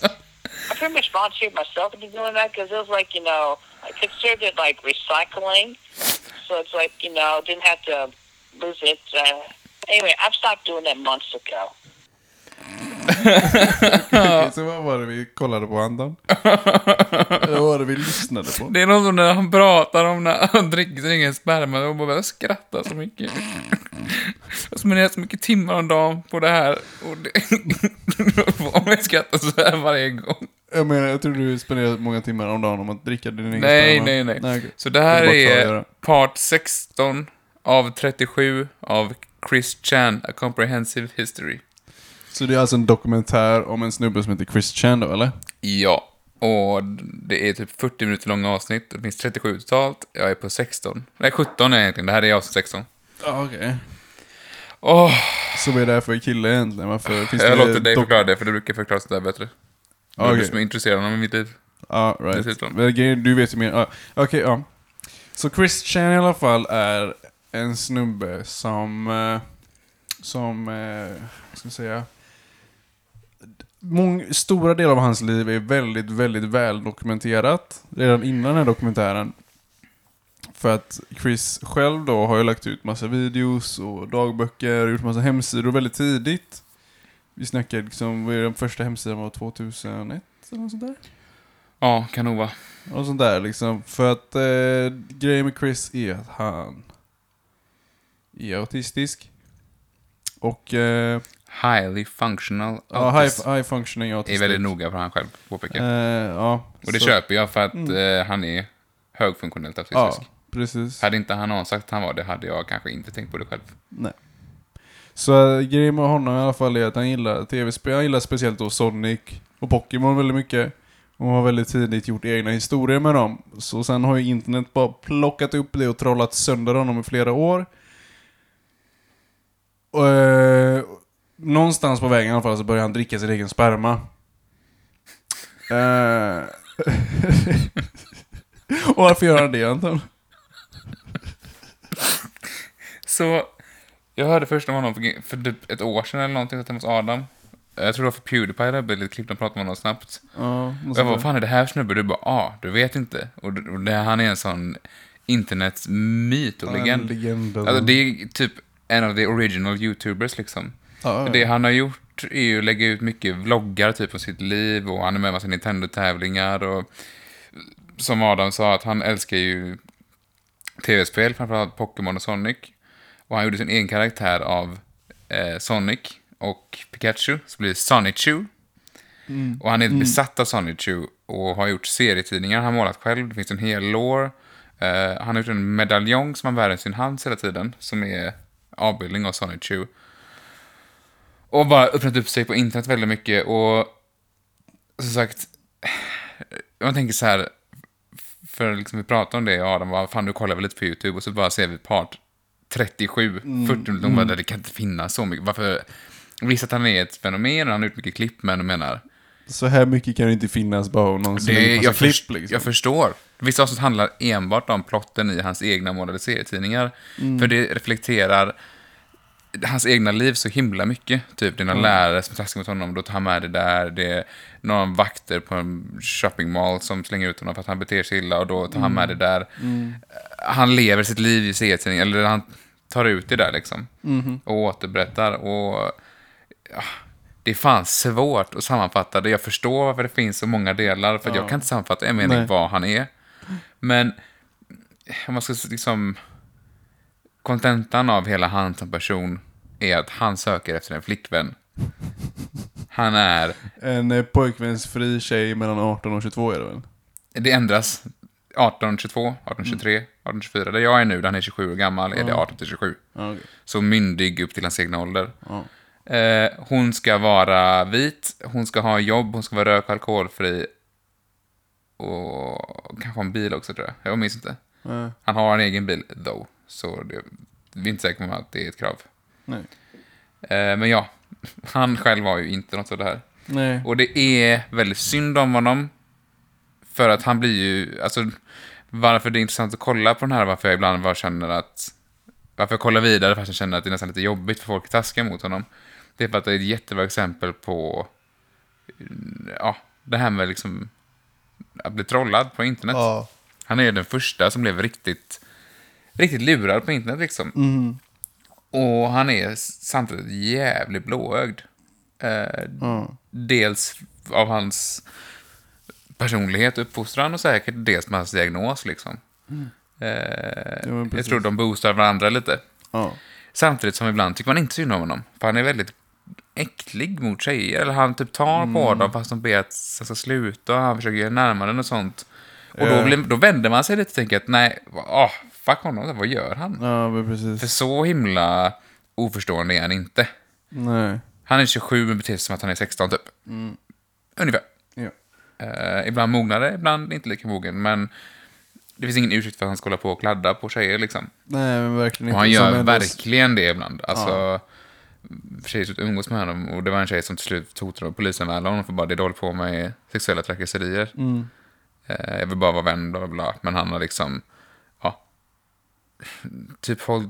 [SPEAKER 4] I pretty much volunteered myself into doing that because it was like, you know, I considered it like recycling. So it's like, you know, didn't have to lose it. Uh, anyway, I've stopped doing that months ago.
[SPEAKER 2] Okej, så vad var det vi kollade på Anton? vad var det vi lyssnade på?
[SPEAKER 1] Det är något som när han pratar om när han dricker sin egen sperma och bara börjar skratta så mycket. Jag spenderar så mycket timmar om dagen på det här och det... Om jag skrattar så här varje gång.
[SPEAKER 2] Jag menar, jag tror du spenderar många timmar om dagen om att dricka din egen
[SPEAKER 1] Nej,
[SPEAKER 2] sperma.
[SPEAKER 1] nej, nej.
[SPEAKER 2] okej.
[SPEAKER 1] Så det här
[SPEAKER 2] Jag vill bara
[SPEAKER 1] är
[SPEAKER 2] klargöra.
[SPEAKER 1] part 16 av 37 av Chris Chan, A Comprehensive History.
[SPEAKER 2] Så det är alltså en dokumentär om en snubbe som heter Chris Chan då, eller?
[SPEAKER 1] Ja, och det är typ 40 minuter långa avsnitt. Det finns 37 totalt. Jag är på 16. Nej, 17 är jag egentligen. Det här är avsnitt 16.
[SPEAKER 2] Ja, okej.
[SPEAKER 1] Åh,
[SPEAKER 2] Så vad är det här för kille egentligen? Varför finns
[SPEAKER 1] jag
[SPEAKER 2] det...
[SPEAKER 1] låter dig
[SPEAKER 2] dok-
[SPEAKER 1] förklara det, för du brukar förklara sådär bättre. Det är
[SPEAKER 2] Okej.
[SPEAKER 1] Du som är intresserad av mitt liv.
[SPEAKER 2] Ja, right.
[SPEAKER 1] Dessutom.
[SPEAKER 2] Men grejen- Du vet ju mer. Ja, Okej, ja. Så Chris Chan i alla fall är en snubbe som... eh, Som... eh, Vad ska jag säga? Mång, stora delar av hans liv är väldigt, väldigt väl dokumenterat. Redan innan den här dokumentären. För att Chris själv då har ju lagt ut massa videos och dagböcker, gjort massa hemsidor väldigt tidigt. Vi snackar liksom, vad är den första hemsidan var 2001 eller något sånt där?
[SPEAKER 1] Ja, kan nog vara.
[SPEAKER 2] Och sånt där liksom. För att eh, grejen med Chris är att han är autistisk. Och eh,
[SPEAKER 1] Highly functional
[SPEAKER 2] ja,
[SPEAKER 1] autism.
[SPEAKER 2] high, high functioning autism.
[SPEAKER 1] är väldigt noga för han själv, påpekar.
[SPEAKER 2] Eh, ja.
[SPEAKER 1] och det
[SPEAKER 2] så-
[SPEAKER 1] köper jag för att eh, han är högfunktionellt
[SPEAKER 2] Ja,
[SPEAKER 1] autistisk.
[SPEAKER 2] precis.
[SPEAKER 1] Hade inte han sagt att han var det hade jag kanske inte tänkt på det själv.
[SPEAKER 2] Nej. Så eh, grejen med honom i alla fall är att han gillar tv-spel. Han gillar speciellt då Sonic och Pokémon väldigt mycket. Och har väldigt tidigt gjort egna historier med dem. Så sen har ju internet bara plockat upp det och trollat sönder honom i flera år. Och, eh, någonstans på vägen i alla fall så börjar han dricka sin egen sperma. Eh, och varför gör han det Anton?
[SPEAKER 1] Så, jag hörde först om honom för, för typ ett år sedan eller någonting, att han hos Adam. Jag tror det var för Pewdiepie, det blev lite klipp, de pratade med honom snabbt.
[SPEAKER 2] Ja,
[SPEAKER 1] Och jag bara, vad fan är det här för snubbe? Du bara, ah, du vet inte. Och, d- och det, han är en sån internetsmyt och
[SPEAKER 2] är en
[SPEAKER 1] legend.
[SPEAKER 2] legend, alltså.
[SPEAKER 1] Alltså, det är typ en av the original YouTubers liksom.
[SPEAKER 2] Ja, ja.
[SPEAKER 1] Det han har gjort är ju att lägga ut mycket vloggar typ om sitt liv och han är med i massa Nintendo-tävlingar och som Adam sa att han älskar ju tv-spel, framförallt Pokémon och Sonic. Och han gjorde sin egen karaktär av eh, Sonic och Pikachu, som blir Sonichu. Och han är besatt av Sonichu och har gjort serietidningar han har målat själv. Det finns en hel lore. Eh, han har gjort en medaljong som han bär i sin hand hela tiden, som är avbildning av Sonichu. Och bara öppnat upp sig på internet väldigt mycket och som sagt, eh, man tänker så här, för liksom vi pratade om det, jag och Adam bara, fan du kollar väl lite på YouTube och så bara ser vi part 37, 40 minuter, mm. det kan inte finnas så mycket. Varför? Visst att han är ett fenomen och han har gjort mycket klipp, men jag menar,
[SPEAKER 2] Så här mycket kan det inte finnas bara någon som
[SPEAKER 1] det,
[SPEAKER 2] massa
[SPEAKER 1] jag,
[SPEAKER 2] klipp
[SPEAKER 1] först,
[SPEAKER 2] liksom.
[SPEAKER 1] jag förstår. Vissa avsnitt handlar enbart om plotten i hans egna målade serietidningar.
[SPEAKER 2] Mm.
[SPEAKER 1] För det reflekterar hans egna liv så himla mycket. Typ dina lärare som är taskiga mot honom, då tar han med det där. Det är någon vakter på en shopping mall som slänger ut honom för att han beter sig illa och då tar han med
[SPEAKER 2] Mm.
[SPEAKER 1] det där. Eh, Han lever sitt liv i serietidningen, eller han tar ut det där liksom.
[SPEAKER 2] Mm-hmm.
[SPEAKER 1] Och återberättar. Och det är fan svårt att sammanfatta det. Jag förstår varför det finns så många delar, för att jag kan inte sammanfatta en mening
[SPEAKER 2] Nej.
[SPEAKER 1] vad han är. Men om man ska s- liksom... Kontentan av hela han som person är att han söker efter en flickvän. Han är...
[SPEAKER 2] En eh, pojkvänsfri tjej mellan 18 och 22 är det väl?
[SPEAKER 1] Det ändras 1822, 1823, 1824. Där jag är nu, där han är 27 år gammal, är det 18 till 27.
[SPEAKER 2] Mm. Ja, okej.
[SPEAKER 1] Så myndig upp till hans egna ålder. Eh, hon ska vara vit, hon ska ha jobb, hon ska vara rök och alkoholfri. Och kanske ha en bil också tror jag. Jag minns inte.
[SPEAKER 2] Nej.
[SPEAKER 1] Han har en egen bil, though. Så det, vi är inte säkra på att det är ett krav.
[SPEAKER 2] Nej.
[SPEAKER 1] Eh, men ja, han själv har ju inte något av det här.
[SPEAKER 2] Nej.
[SPEAKER 1] Och det är väldigt synd om honom. För att han blir ju, alltså varför det är intressant att kolla på den här, varför jag ibland bara känner att, varför jag kollar vidare fast jag känner att det är nästan lite jobbigt för folk är taskiga mot honom. Det är för att det är ett jättebra exempel på, mm, ja, det här med liksom att bli trollad på internet.
[SPEAKER 2] Ja.
[SPEAKER 1] Han är ju den första som blev riktigt, riktigt lurad på internet liksom.
[SPEAKER 2] Mm.
[SPEAKER 1] Och han är samtidigt jävligt blåögd. Eh, Dels av hans personlighet och uppfostran och säkert dels med hans diagnos liksom. Eh,
[SPEAKER 2] men
[SPEAKER 1] jag
[SPEAKER 2] precis.
[SPEAKER 1] tror de boostar varandra lite.
[SPEAKER 2] Ja.
[SPEAKER 1] Samtidigt som ibland tycker man inte synd om honom. För han är väldigt äcklig mot tjejer. Eller han typ tar på dem fast de ber att han ska sluta. Och han försöker närma den och sånt. Och då,
[SPEAKER 2] Ja.
[SPEAKER 1] blir, då vänder man sig lite och tänker att nej, oh, fuck honom. Vad gör han?
[SPEAKER 2] Ja, men
[SPEAKER 1] För
[SPEAKER 2] precis.
[SPEAKER 1] så himla oförstående är han inte.
[SPEAKER 2] Nej.
[SPEAKER 1] Han är 27 men beter sig som att han är 16 typ. Ungefär.
[SPEAKER 2] Ja.
[SPEAKER 1] Eh, ibland mognare, ibland inte lika mogen. Men det finns ingen ursäkt för att han ska hålla på och kladda på tjejer liksom.
[SPEAKER 2] Nej, men verkligen inte.
[SPEAKER 1] Och han
[SPEAKER 2] Som
[SPEAKER 1] gör
[SPEAKER 2] ändå-
[SPEAKER 1] verkligen det ibland. Alltså, Tjejer som umgås med honom och det var en tjej som till slut hotade att polisanmäla honom för bara det du håller på med är sexuella trakasserier.
[SPEAKER 2] Mm.
[SPEAKER 1] Eh, jag vill bara vara vän, bla bla bla. Men han har liksom, ja. Typ håll,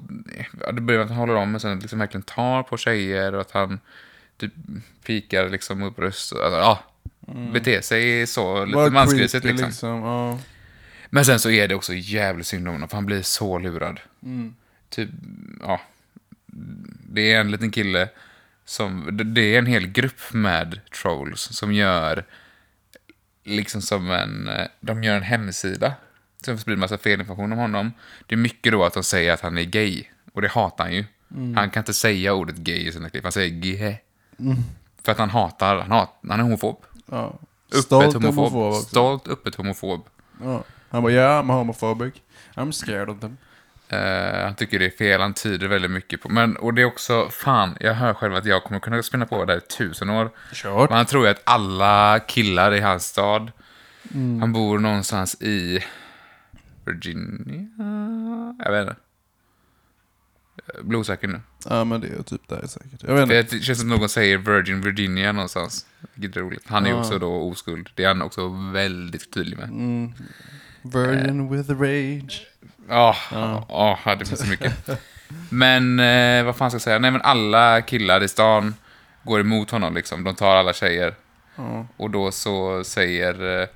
[SPEAKER 1] ja, det börjar med att han håller om men sen liksom verkligen tar på tjejer och att han typ pikar liksom upp röst. Alltså, ja. Beter sig så lite
[SPEAKER 2] Bara
[SPEAKER 1] mansgrisigt
[SPEAKER 2] Mm. creepy,
[SPEAKER 1] liksom.
[SPEAKER 2] Ja.
[SPEAKER 1] Men sen så är det också jävligt synd om honom, för han blir så lurad.
[SPEAKER 2] Mm.
[SPEAKER 1] Typ, ja. Det är en liten kille som... det- Det är en hel grupp med trolls som gör... Liksom som en... eh, De gör en hemsida. Som sprider massa felinformation om honom. Det är mycket då att de säger att han är gay. Och det hatar han ju.
[SPEAKER 2] Mm.
[SPEAKER 1] Han kan inte säga ordet gay i sina klipp. Han säger gehe. För att han hatar... Han, hat, han är homofob.
[SPEAKER 2] ja.
[SPEAKER 1] Öppet
[SPEAKER 2] Stolt
[SPEAKER 1] homofob.
[SPEAKER 2] homofob också.
[SPEAKER 1] Stolt, öppet homofob.
[SPEAKER 2] Ja. Han bara, yeah, I'm homophobic. I'm scared of them.
[SPEAKER 1] Eh, han tycker det är fel, han tyder väldigt mycket på... Men, och det är också, fan, jag hör själv att jag kommer kunna spinna på det här i tusen år.
[SPEAKER 2] Kör.
[SPEAKER 1] Men han tror ju att alla killar i hans stad, han bor någonstans i Virginia? Jag vet inte. Jag blir osäker nu.
[SPEAKER 2] Ja, men det är typ där säkert. Jag vet inte.
[SPEAKER 1] Det känns som någon säger Virgin Virginia någonstans. Vilket är roligt. Han är ju också då oskuld. Det är han också väldigt tydlig med.
[SPEAKER 2] Virgin with rage.
[SPEAKER 1] Ja, ja, Ah, ja, det finns så mycket. Men eh, vad fan ska jag säga? Nej, men alla killar i stan går emot honom liksom. De tar alla tjejer. Och då så säger, eh,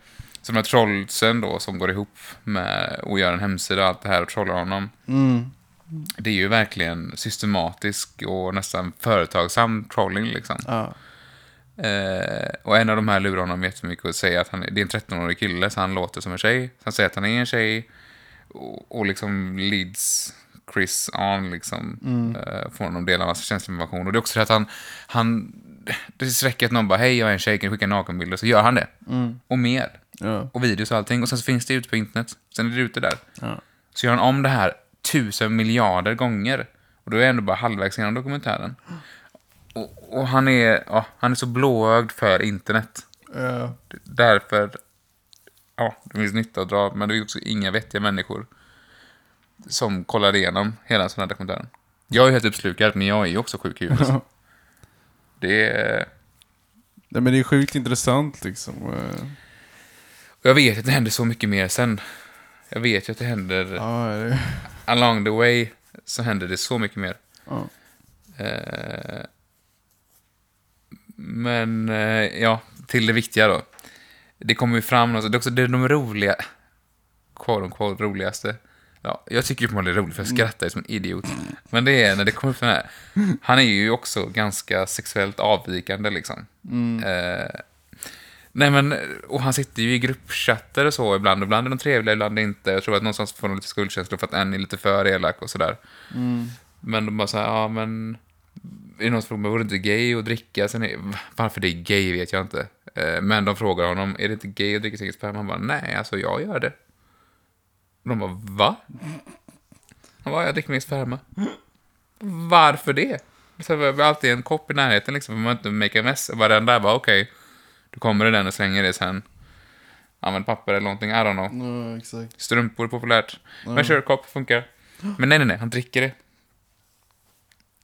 [SPEAKER 1] så de här trollsen då som går ihop med och gör en hemsida och allt det här och trollar honom. Det är ju verkligen systematisk och nästan företagsam trolling liksom.
[SPEAKER 2] Ja.
[SPEAKER 1] Eh, och en av de här lurar honom jättemycket och säger att han, det är en 13-årig kille så han låter som en tjej. Så han säger att han är en tjej och, och liksom leads Chris on liksom. Eh, får honom dela massa känsloinformation. Och det är också det att han, han det räcker att någon bara hej jag är en tjej, kan du skicka en nakenbild? Och så gör han det. Och mer.
[SPEAKER 2] Ja.
[SPEAKER 1] Och videos och allting. Och sen så finns det ute på internet. Sen är det ute där. Så gör han om det här tusen miljarder gånger. Och då är jag ändå bara halvvägs genom dokumentären. Och, och han, är, ja, han är så blåögd för internet.
[SPEAKER 2] Eh,
[SPEAKER 1] Därför, ja, det finns nytta att dra, men det finns också inga vettiga människor som kollar igenom hela sån här dokumentären. Jag är helt uppslukad, men jag är ju också sjuk i huvudet. Det är...
[SPEAKER 2] nej, men det är sjukt intressant liksom. Eh,
[SPEAKER 1] och Jag vet att det händer så mycket mer sen. Jag vet ju att det händer...
[SPEAKER 2] Ja, det
[SPEAKER 1] along the way så händer det så mycket mer.
[SPEAKER 2] Ja.
[SPEAKER 1] Eh, men eh, ja, till det viktiga då. Det kommer ju fram något, det är också det är de roliga, quote unquote, roligaste. Ja, jag tycker ju på det är roligt för jag skrattar ju som en idiot. Men det är när det kommer upp den här, han är ju också ganska sexuellt avvikande liksom. Eh, Nej men, och han sitter ju i gruppchatter och så ibland. Ibland är de trevliga, ibland inte. Jag tror att någonstans får de lite skuldkänslor för att en är lite för elak och sådär. Men de bara såhär, ja men... Är det någon som frågar, vore det inte gay att dricka? Sen är, varför det är gay vet jag inte. Eh, Men de frågar honom, är det inte gay att dricka sin egen sperma? Han bara, nej alltså jag gör det. Och de bara, va? Han bara, jag dricker min egen sperma. Varför det? Så det var alltid en kopp i närheten liksom, för man inte make a mess. Och Varenda bara, okej. Då kommer det den och slänger det sen. Använd papper eller någonting, I don't know.
[SPEAKER 2] Ja, exakt.
[SPEAKER 1] Strumpor är populärt. Men kör kopp, funkar. Men nej, nej, nej, han dricker det.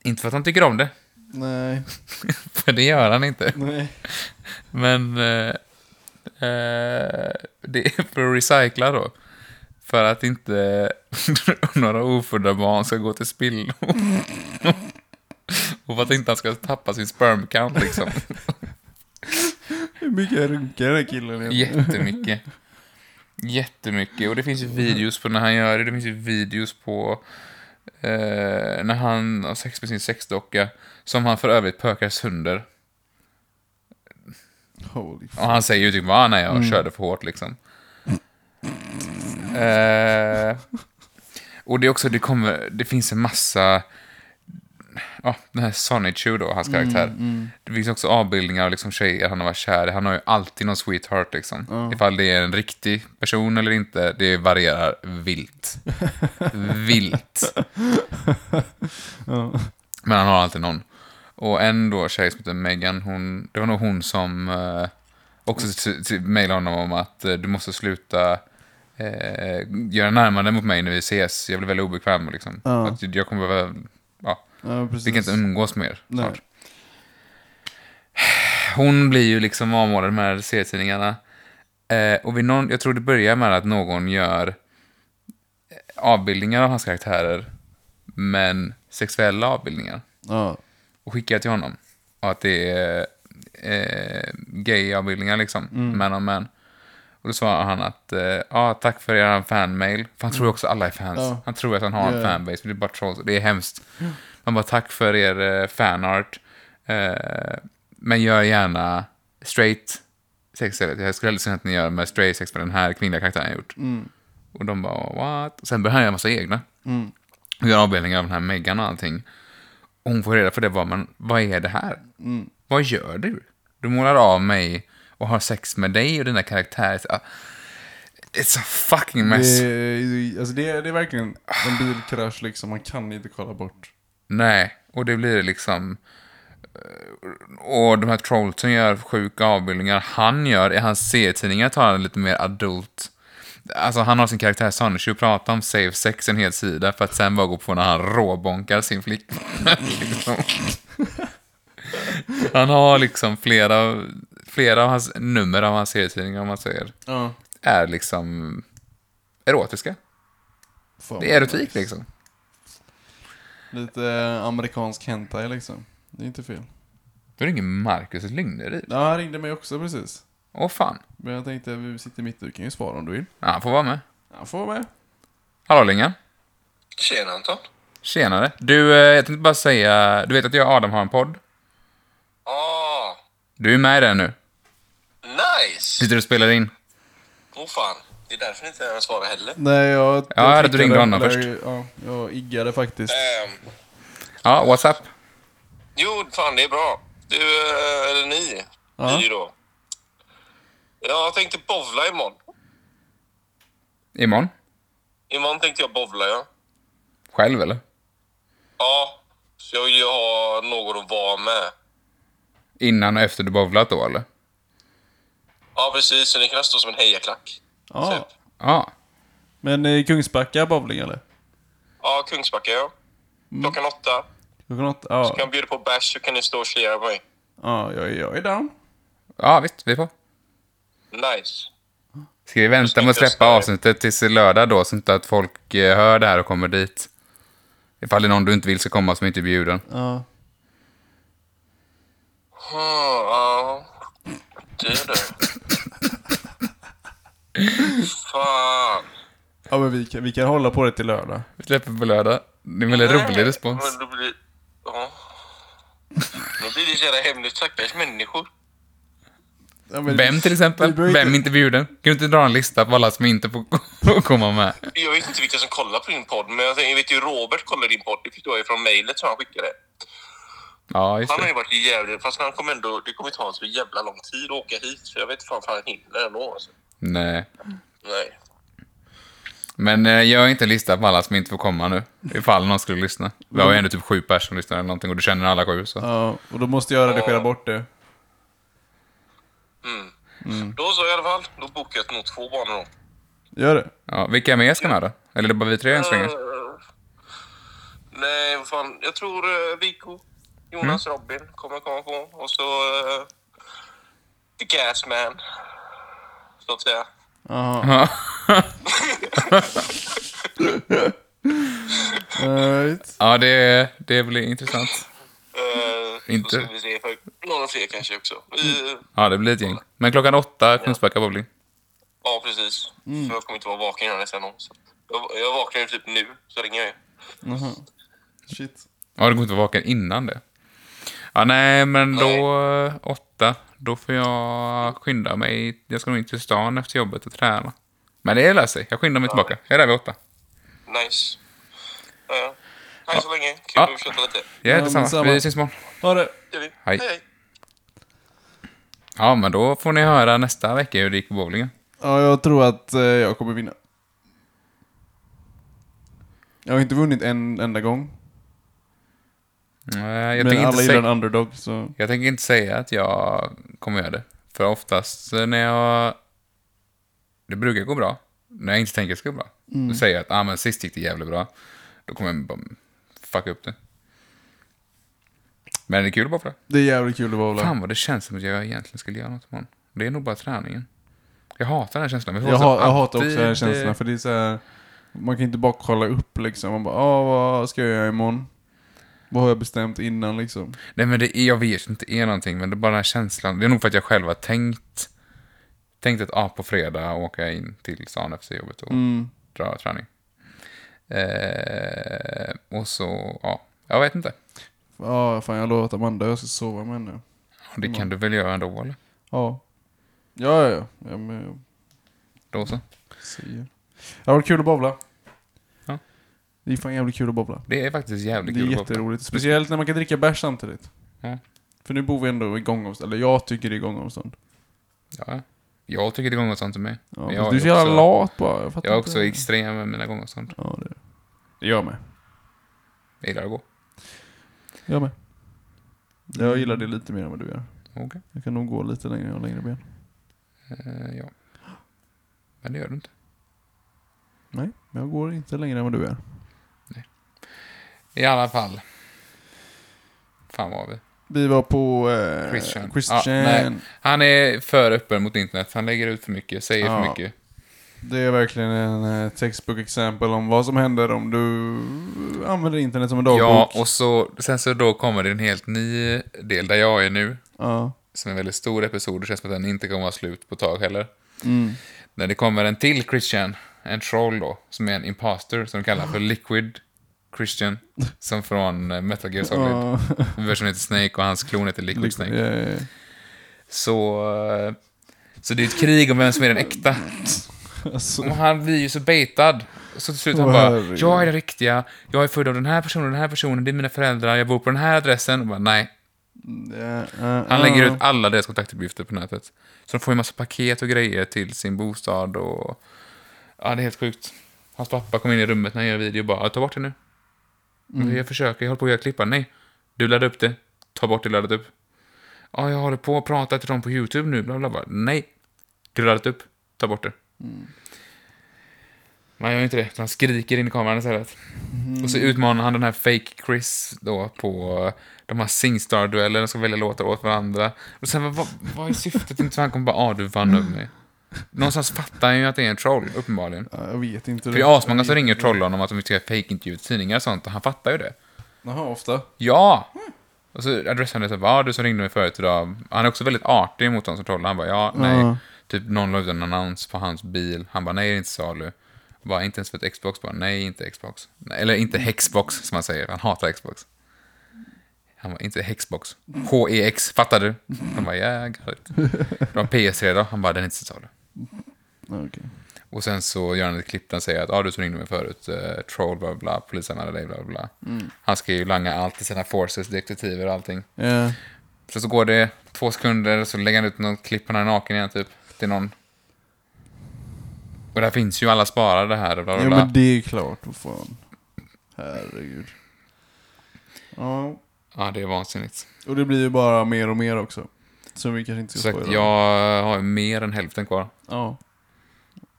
[SPEAKER 1] Inte för att han tycker om det,
[SPEAKER 2] Nej.
[SPEAKER 1] för det gör han inte.
[SPEAKER 2] Nej.
[SPEAKER 1] Men eh, eh, det är för att recycla då. För att inte några ofödda barn ska gå till spillo. och för att inte han ska tappa sin sperm count liksom.
[SPEAKER 2] Hur mycket runkar den här killen egentligen?
[SPEAKER 1] Jättemycket. Jättemycket. Och det finns ju videos på när han gör det. Det finns ju videos på eh, när han har sex med sin sexdocka. Som han för övrigt pökar sönder.
[SPEAKER 2] Holy f-
[SPEAKER 1] Och han säger ju typ bara ah, nej, jag körde för hårt liksom. Eh, och det är också, det kommer, det finns en massa, ja, den här Sonichu då, hans karaktär. Det finns också avbildningar av liksom tjejer han har varit kär i. Han har ju alltid någon sweetheart liksom. Ifall det är en riktig person eller inte, det varierar vilt. vilt. Men han har alltid någon. Och en då tjej som heter Megan, hon, det var nog hon som eh, också t- t- mejlade honom om att eh, du måste sluta eh, göra närmande mot mig när vi ses. Jag blir väldigt obekväm liksom.
[SPEAKER 2] Ja.
[SPEAKER 1] Att jag kommer behöva, ja,
[SPEAKER 2] Ja, precis.
[SPEAKER 1] vi kan inte umgås mer
[SPEAKER 2] Nej.
[SPEAKER 1] snart. Hon blir ju liksom avmålad med de här serietidningarna. Eh, och vid någon, jag tror det börjar med att någon gör eh, avbildningar av hans karaktärer, men sexuella avbildningar
[SPEAKER 2] Ja.
[SPEAKER 1] och skickar till honom. Och att det är eh, gay-avbildningar liksom,
[SPEAKER 2] Mm.
[SPEAKER 1] man on man. Och då svarar han att, eh, ja tack för er fanmail. För han tror ju också alla är fans.
[SPEAKER 2] Ja.
[SPEAKER 1] Han tror att han har en
[SPEAKER 2] Ja.
[SPEAKER 1] fanbase, men det är bara trolls. Det är hemskt. Man bara, tack för er eh, fanart. Eh, men gör gärna straight sex istället. Jag skulle hellre se att ni gör med straight sex med den här kvinnliga karaktären jag gjort.
[SPEAKER 2] Mm.
[SPEAKER 1] Och de bara, what? Och sen börjar han göra massa egna. Och gör avbildningar av den här Megan och allting. Och hon får reda på det bara, men vad är det här? Vad gör du? Du målar av mig och har sex med dig och dina karaktärer. Ah, It's a fucking mess.
[SPEAKER 2] Det, är- alltså det, är- det är verkligen en bilkrasch liksom. Man kan inte kolla bort.
[SPEAKER 1] Nej, och det blir liksom... eh, Och de här trollsen gör sjuka avbildningar. Han gör, i hans serietidningar tar han lite mer adult. Alltså han har sin karaktär Sonichu prata om safe sex en hel sida för att sen bara gå på när han råbonkar sin flickvän. liksom. Han har liksom flera, flera av hans nummer av hans serietidningar, om man säger,
[SPEAKER 2] Ja.
[SPEAKER 1] är liksom erotiska.
[SPEAKER 2] Fan,
[SPEAKER 1] Det är erotik
[SPEAKER 2] nice.
[SPEAKER 1] liksom.
[SPEAKER 2] Lite eh, amerikansk hentai liksom. Det är inte fel.
[SPEAKER 1] Då ringer Marcus Lyngneryd.
[SPEAKER 2] Ja, han ringde mig också precis.
[SPEAKER 1] Åh fan.
[SPEAKER 2] Men jag tänkte vi sitter mitt du kan ju svara om du vill.
[SPEAKER 1] Ja, han får vara med.
[SPEAKER 2] Han får vara med.
[SPEAKER 1] Hallå Lingan.
[SPEAKER 6] Tjena Anton.
[SPEAKER 1] Tjenare. Du, eh, jag tänkte bara säga, du vet att jag och Adam har en podd?
[SPEAKER 6] Ah,
[SPEAKER 1] Du är med i den nu.
[SPEAKER 6] nice!
[SPEAKER 1] Sitter du och spelar in?
[SPEAKER 6] Åh fan, det är därför inte jag svarar heller.
[SPEAKER 2] Nej, jag...
[SPEAKER 1] jag hörde att du ringde
[SPEAKER 2] tittade-
[SPEAKER 1] honom Eh,
[SPEAKER 2] eller, Ja, jag iggade faktiskt.
[SPEAKER 6] Ehm,
[SPEAKER 1] Ja, WhatsApp.
[SPEAKER 6] jo, fan det är bra. Du, eh, eller ni,
[SPEAKER 2] Ja.
[SPEAKER 6] ni då. Jag tänkte bovla imorgon.
[SPEAKER 1] Imorgon.
[SPEAKER 6] Imorgon tänkte jag bovla ja.
[SPEAKER 1] Själv eller?
[SPEAKER 6] Ja, så jag vill ju ha någon att vara med.
[SPEAKER 1] Innan och efter du bowlat då eller?
[SPEAKER 6] Ja, precis. Så ni kan stå som en hejaklack.
[SPEAKER 2] Ja.
[SPEAKER 6] Typ.
[SPEAKER 1] Ja.
[SPEAKER 2] Men eh, Kungsbacka bowling eller?
[SPEAKER 6] Ja, Kungsbacka ja. Klockan åtta.
[SPEAKER 2] Klockan åtta? Ja,
[SPEAKER 6] Kan jag bjuda på bärs så kan ni stå och cheera på mig.
[SPEAKER 2] ja jag, jag är down.
[SPEAKER 1] Ja, visst. Vi får.
[SPEAKER 6] Nice.
[SPEAKER 1] Ska vi vänta med att släppa avsnittet tills lördag då, så inte att folk eh, hör det här och kommer dit? Ifall det är någon du inte vill ska komma som inte är bjuden.
[SPEAKER 2] Ja.
[SPEAKER 6] Ja, ja. Det du. Fan.
[SPEAKER 2] Ja, men vi kan, vi kan hålla på det till lördag.
[SPEAKER 1] Vi släpper på lördag. Det är en väldigt rolig respons.
[SPEAKER 6] Men då blir... Ja. Då blir det så jävla hemligt. Stackars människor.
[SPEAKER 2] Ja, men-
[SPEAKER 1] Vem till
[SPEAKER 2] Vi
[SPEAKER 1] exempel?
[SPEAKER 2] behöver
[SPEAKER 1] Vem är inte bjuden? Kan du inte dra en lista på alla som inte får komma med?
[SPEAKER 6] Jag vet inte vilka som kollar på din podd, men jag tänker- jag vet ju Robert kollar din podd. Det förstår jag ju från mejlet som han skickade.
[SPEAKER 1] Ja, just
[SPEAKER 6] Han har ju
[SPEAKER 1] det.
[SPEAKER 6] varit jävligt... Fast han kommer ändå... Det kommer ta så jävla lång tid att åka hit, så jag vet fan fan han hinner ändå. Alltså.
[SPEAKER 1] Nej.
[SPEAKER 6] Nej.
[SPEAKER 1] Men eh, gör inte en lista på alla som inte får komma nu. Ifall någon skulle lyssna. Vi har ju ändå typ sju personer som lyssnar eller någonting och du känner alla sju så.
[SPEAKER 2] Ja, och då måste jag redigera bort det.
[SPEAKER 6] Då så i alla fall. Då bokar jag nog två banor då.
[SPEAKER 2] Gör det.
[SPEAKER 1] Ja, vilka mer ska med då? Eller är det bara vi tre än så länge?
[SPEAKER 6] Eh, Nej, vad fan. Jag tror uh, Vico, Jonas,
[SPEAKER 1] Mm.
[SPEAKER 6] Robin kommer komma på. Och så uh, The Gasman, så att säga.
[SPEAKER 2] Jaha.
[SPEAKER 1] Ja.
[SPEAKER 2] Right.
[SPEAKER 1] Ja, det, det blir intressant.
[SPEAKER 6] Eh,
[SPEAKER 1] Inte. Mm.
[SPEAKER 6] Så ska vi se för några fler kanske också. Vi, eh,
[SPEAKER 1] Ja, det blir ett gäng. Men klockan åtta, Kungsbacka bowling.
[SPEAKER 6] ja, precis.
[SPEAKER 1] Mm.
[SPEAKER 6] För jag kommer inte vara vaken innan nästa gång. Så. Jag, jag vaknar ju typ nu, så ringer jag ju.
[SPEAKER 2] Jaha. Shit.
[SPEAKER 1] Ja, det går inte att vaka innan det. Ja, nej, men då eh, åtta, då får jag skynda mig. Jag ska nog in till stan efter jobbet och träna. Men det löser sig. Jag skyndar mig tillbaka. Jag är där vid åtta.
[SPEAKER 6] Nice. Ja, ja. Hej så länge. Kul
[SPEAKER 1] Ja.
[SPEAKER 6] att köta lite.
[SPEAKER 1] Ja,
[SPEAKER 2] men
[SPEAKER 1] detsamma.
[SPEAKER 2] samma.
[SPEAKER 1] Vi syns imorgon.
[SPEAKER 2] Ha det.
[SPEAKER 6] Det gör vi.
[SPEAKER 1] Hej.
[SPEAKER 6] hej.
[SPEAKER 1] Ja, men då får ni höra nästa vecka hur det gick på bowlingen.
[SPEAKER 2] Ja, jag tror att eh, jag kommer vinna. Jag har inte vunnit en enda gång.
[SPEAKER 1] Eh, Jag
[SPEAKER 2] men
[SPEAKER 1] tänker,
[SPEAKER 2] alla
[SPEAKER 1] inte
[SPEAKER 2] gillar en
[SPEAKER 1] säga,
[SPEAKER 2] underdog, så...
[SPEAKER 1] jag tänker inte säga att jag kommer göra det. För oftast eh, när jag... Det brukar gå bra. När jag inte tänker att det ska gå bra.
[SPEAKER 2] Mm.
[SPEAKER 1] Då säger jag att ah, men sist gick det jävligt bra. Då kommer jag bara fucka upp det. Men det är kul bara för det.
[SPEAKER 2] Det är jävligt kul att bowla.
[SPEAKER 1] Fan vad det känns som att jag egentligen skulle göra något imorgon. Det är nog bara träningen. Jag hatar den här känslan. Men
[SPEAKER 2] Jag,
[SPEAKER 1] får
[SPEAKER 2] ha, jag
[SPEAKER 1] alltid-
[SPEAKER 2] hatar också den här känslan, för det är så här, Man kan inte bara kolla upp liksom. Man bara, ah, vad ska jag göra imorgon? Vad har jag bestämt innan liksom?
[SPEAKER 1] Nej, men det är, jag vet inte det är någonting, men det är bara den här känslan. Det är nog för att jag själv har tänkt, tänkt att ah, på fredag åker jag in till stan efter jobbet och
[SPEAKER 2] Mm.
[SPEAKER 1] drar träning. Eh, och så, ja, jag vet inte.
[SPEAKER 2] Ja, fan jag har lovat Amanda jag ska sova med henne.
[SPEAKER 1] Det
[SPEAKER 2] Mm.
[SPEAKER 1] kan du väl göra ändå, eller?
[SPEAKER 2] Ja. Ja, ja, ja. ja men jag
[SPEAKER 1] Då så.
[SPEAKER 2] säger. Det har varit kul att bowla.
[SPEAKER 1] Ja.
[SPEAKER 2] Det är fan jävligt kul att bowla.
[SPEAKER 1] Det är faktiskt
[SPEAKER 2] Det
[SPEAKER 1] jävligt
[SPEAKER 2] är,
[SPEAKER 1] kul. att vara på.
[SPEAKER 2] jätteroligt. Speciellt när man kan dricka bärs samtidigt.
[SPEAKER 1] Ja.
[SPEAKER 2] För nu bor vi ändå i gångavstånd. Eller jag tycker det är gångavstånd.
[SPEAKER 1] Ja. Jag tycker det går sånt till mig.
[SPEAKER 2] Ja,
[SPEAKER 1] Men
[SPEAKER 2] men
[SPEAKER 1] jag
[SPEAKER 2] du är
[SPEAKER 1] är
[SPEAKER 2] så jävla
[SPEAKER 1] också-
[SPEAKER 2] lat bara. Jag fattar
[SPEAKER 1] Jag är
[SPEAKER 2] inte.
[SPEAKER 1] också extrem med mina gånger och sånt.
[SPEAKER 2] Ja, det det gör jag med.
[SPEAKER 1] Jag gillar att gå.
[SPEAKER 2] Jag med. Jag gillar det lite mer än vad du gör.
[SPEAKER 1] Okej.
[SPEAKER 2] Jag kan nog gå lite längre och längre ben.
[SPEAKER 1] Eh, ja. Men det gör du inte.
[SPEAKER 2] Nej, men jag går inte längre än vad du är.
[SPEAKER 1] I alla fall. Fan var vi?
[SPEAKER 2] Vi var på eh,
[SPEAKER 1] Christian. Ja,
[SPEAKER 2] Christian.
[SPEAKER 1] nej. han är för öppen mot internet. Han lägger ut för mycket, säger
[SPEAKER 2] Ja.
[SPEAKER 1] för mycket.
[SPEAKER 2] det är verkligen en eh, textbook-exempel om vad som händer om du använder internet som en dagbok.
[SPEAKER 1] Ja, och så, sen så då kommer det en helt ny del där jag är nu.
[SPEAKER 2] Ja.
[SPEAKER 1] Som är en väldigt stor episod. Det känns som att den inte kommer vara slut på ett tag heller.
[SPEAKER 2] Mm.
[SPEAKER 1] När det kommer en till Christian, en troll då, som är en imposter som de kallar för Liquid Christian. Som från eh, Metal Gear Solid.
[SPEAKER 2] Ja.
[SPEAKER 1] Versionen heter Snake och hans klon heter Liquid Snake.
[SPEAKER 2] Ja, ja, ja.
[SPEAKER 1] Så, eh, så det är ett krig om vem som är den äkta.
[SPEAKER 2] Alltså,
[SPEAKER 1] Och han blir ju så baitad. Så till slut han
[SPEAKER 2] Åh,
[SPEAKER 1] bara,
[SPEAKER 2] herregud.
[SPEAKER 1] jag är den riktiga, jag är född av den här personen, den här personen, det är mina föräldrar, jag bor på den här adressen. Och bara, nej.
[SPEAKER 2] ja, ja,
[SPEAKER 1] Han
[SPEAKER 2] ja.
[SPEAKER 1] lägger ut alla deras kontaktuppgifter på nätet. Så de får ju massa paket och grejer till sin bostad och... Ja, det är helt sjukt. Hans pappa kom in i rummet när han gör video och bara, ta bort det nu. Jag försöker, jag håller på att göra klippan. Nej, du laddar upp det. Ta bort det du laddat upp. Ja, jag håller på att prata till dem på YouTube nu. Bla, bla, bla. Nej, du har laddat upp. Ta bort det. Man gör inte det, utan han skriker in i kameran istället. Och så utmanar han den här fake Chris då på eh, de här Singstar-duellerna, ska välja låtar åt varandra. Och sen, vad- vad, vad är syftet? Inte så han kommer bara, ah, du vann över mig. Någonstans fattar han ju att det är en troll, uppenbarligen.
[SPEAKER 2] Ja, eh, Jag vet inte.
[SPEAKER 1] För det är asmånga som ringer och trollar honom att de ska göra fake-intervjuer till tidningar och sånt, och han fattar ju det.
[SPEAKER 2] Jaha, ofta.
[SPEAKER 1] Ja! Och så adressade han det såhär, ja du som ringde mig förut idag. Han är också väldigt artig mot de som trollar. Han bara, ja, nej.
[SPEAKER 2] Ja.
[SPEAKER 1] Typ någon la ut en annons på hans bil. Han bara, nej det är inte salu. Bara, inte ens för ett Xbox. Bara, nej inte Xbox. Nej, eller inte Hexbox som han säger. Han hatar Xbox. Han bara, inte Hexbox. H-E-X, fattar du? Han bara, yeah, I got it. Det var en PS3 då. Han bara, den är inte till salu.
[SPEAKER 2] Ja, okej.
[SPEAKER 1] Och sen så gör han ett klipp där han säger att ah, du som ringde mig förut, eh, troll, bla bla, bla, polisanmäla dig, bla bla, bla.
[SPEAKER 2] Mm.
[SPEAKER 1] Han ska ju langa allt till sina forces, detektiver och allting.
[SPEAKER 2] Ja.
[SPEAKER 1] Sen så går det två sekunder så lägger han ut något klipp på den här naken igen typ. Till någon. Och där finns ju alla sparade här och bla bla
[SPEAKER 2] Ja,
[SPEAKER 1] bla.
[SPEAKER 2] men det är klart. Vad fan. Herregud. Ja.
[SPEAKER 1] Ja, det är vansinnigt.
[SPEAKER 2] Och det blir ju bara mer och mer också. Som vi kanske inte
[SPEAKER 1] Så
[SPEAKER 2] ska
[SPEAKER 1] att
[SPEAKER 2] spoila.
[SPEAKER 1] jag har ju mer än hälften kvar.
[SPEAKER 2] Ja.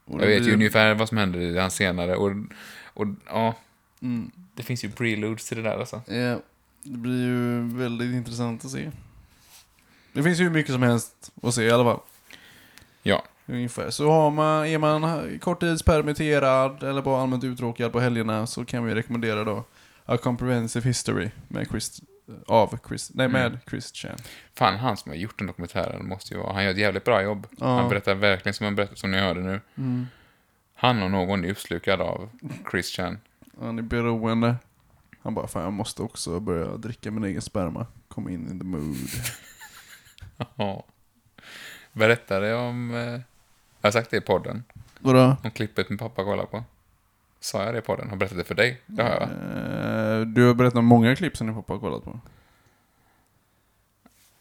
[SPEAKER 2] Och det
[SPEAKER 1] Jag vet
[SPEAKER 2] blir-
[SPEAKER 1] ju ungefär vad som händer i hans senare. Och, och ja,
[SPEAKER 2] Mm.
[SPEAKER 1] det finns ju preludes till det där alltså.
[SPEAKER 2] Ja, Eh, det blir ju väldigt intressant att se. Det finns ju hur mycket som helst att se i alla fall.
[SPEAKER 1] Ja,
[SPEAKER 2] Ungefär. Så har man, är man korttidspermitterad eller bara allmänt uttråkad på helgerna så kan vi rekommendera då A Comprehensive History med Chris, eh, av Chris, nej med Christian.
[SPEAKER 1] fan han som har gjort den dokumentären måste ju vara, han gör ett jävligt bra jobb.
[SPEAKER 2] Ja.
[SPEAKER 1] Han berättar verkligen som han berättar, som ni hörde nu. Han och någon är uppslukad av Christian.
[SPEAKER 2] Han är beroende. Han bara, fan jag måste också börja dricka min egen sperma. Kom in in the mood.
[SPEAKER 1] Ja. Berättade om... Eh, jag har sagt det i podden.
[SPEAKER 2] Vadå?
[SPEAKER 1] Om klippet min pappa kollar på. Sa jag det i podden? Har berättat det för dig? Det har jag va?
[SPEAKER 2] Eh, Du har berättat om många klipp som din pappa har kollat på.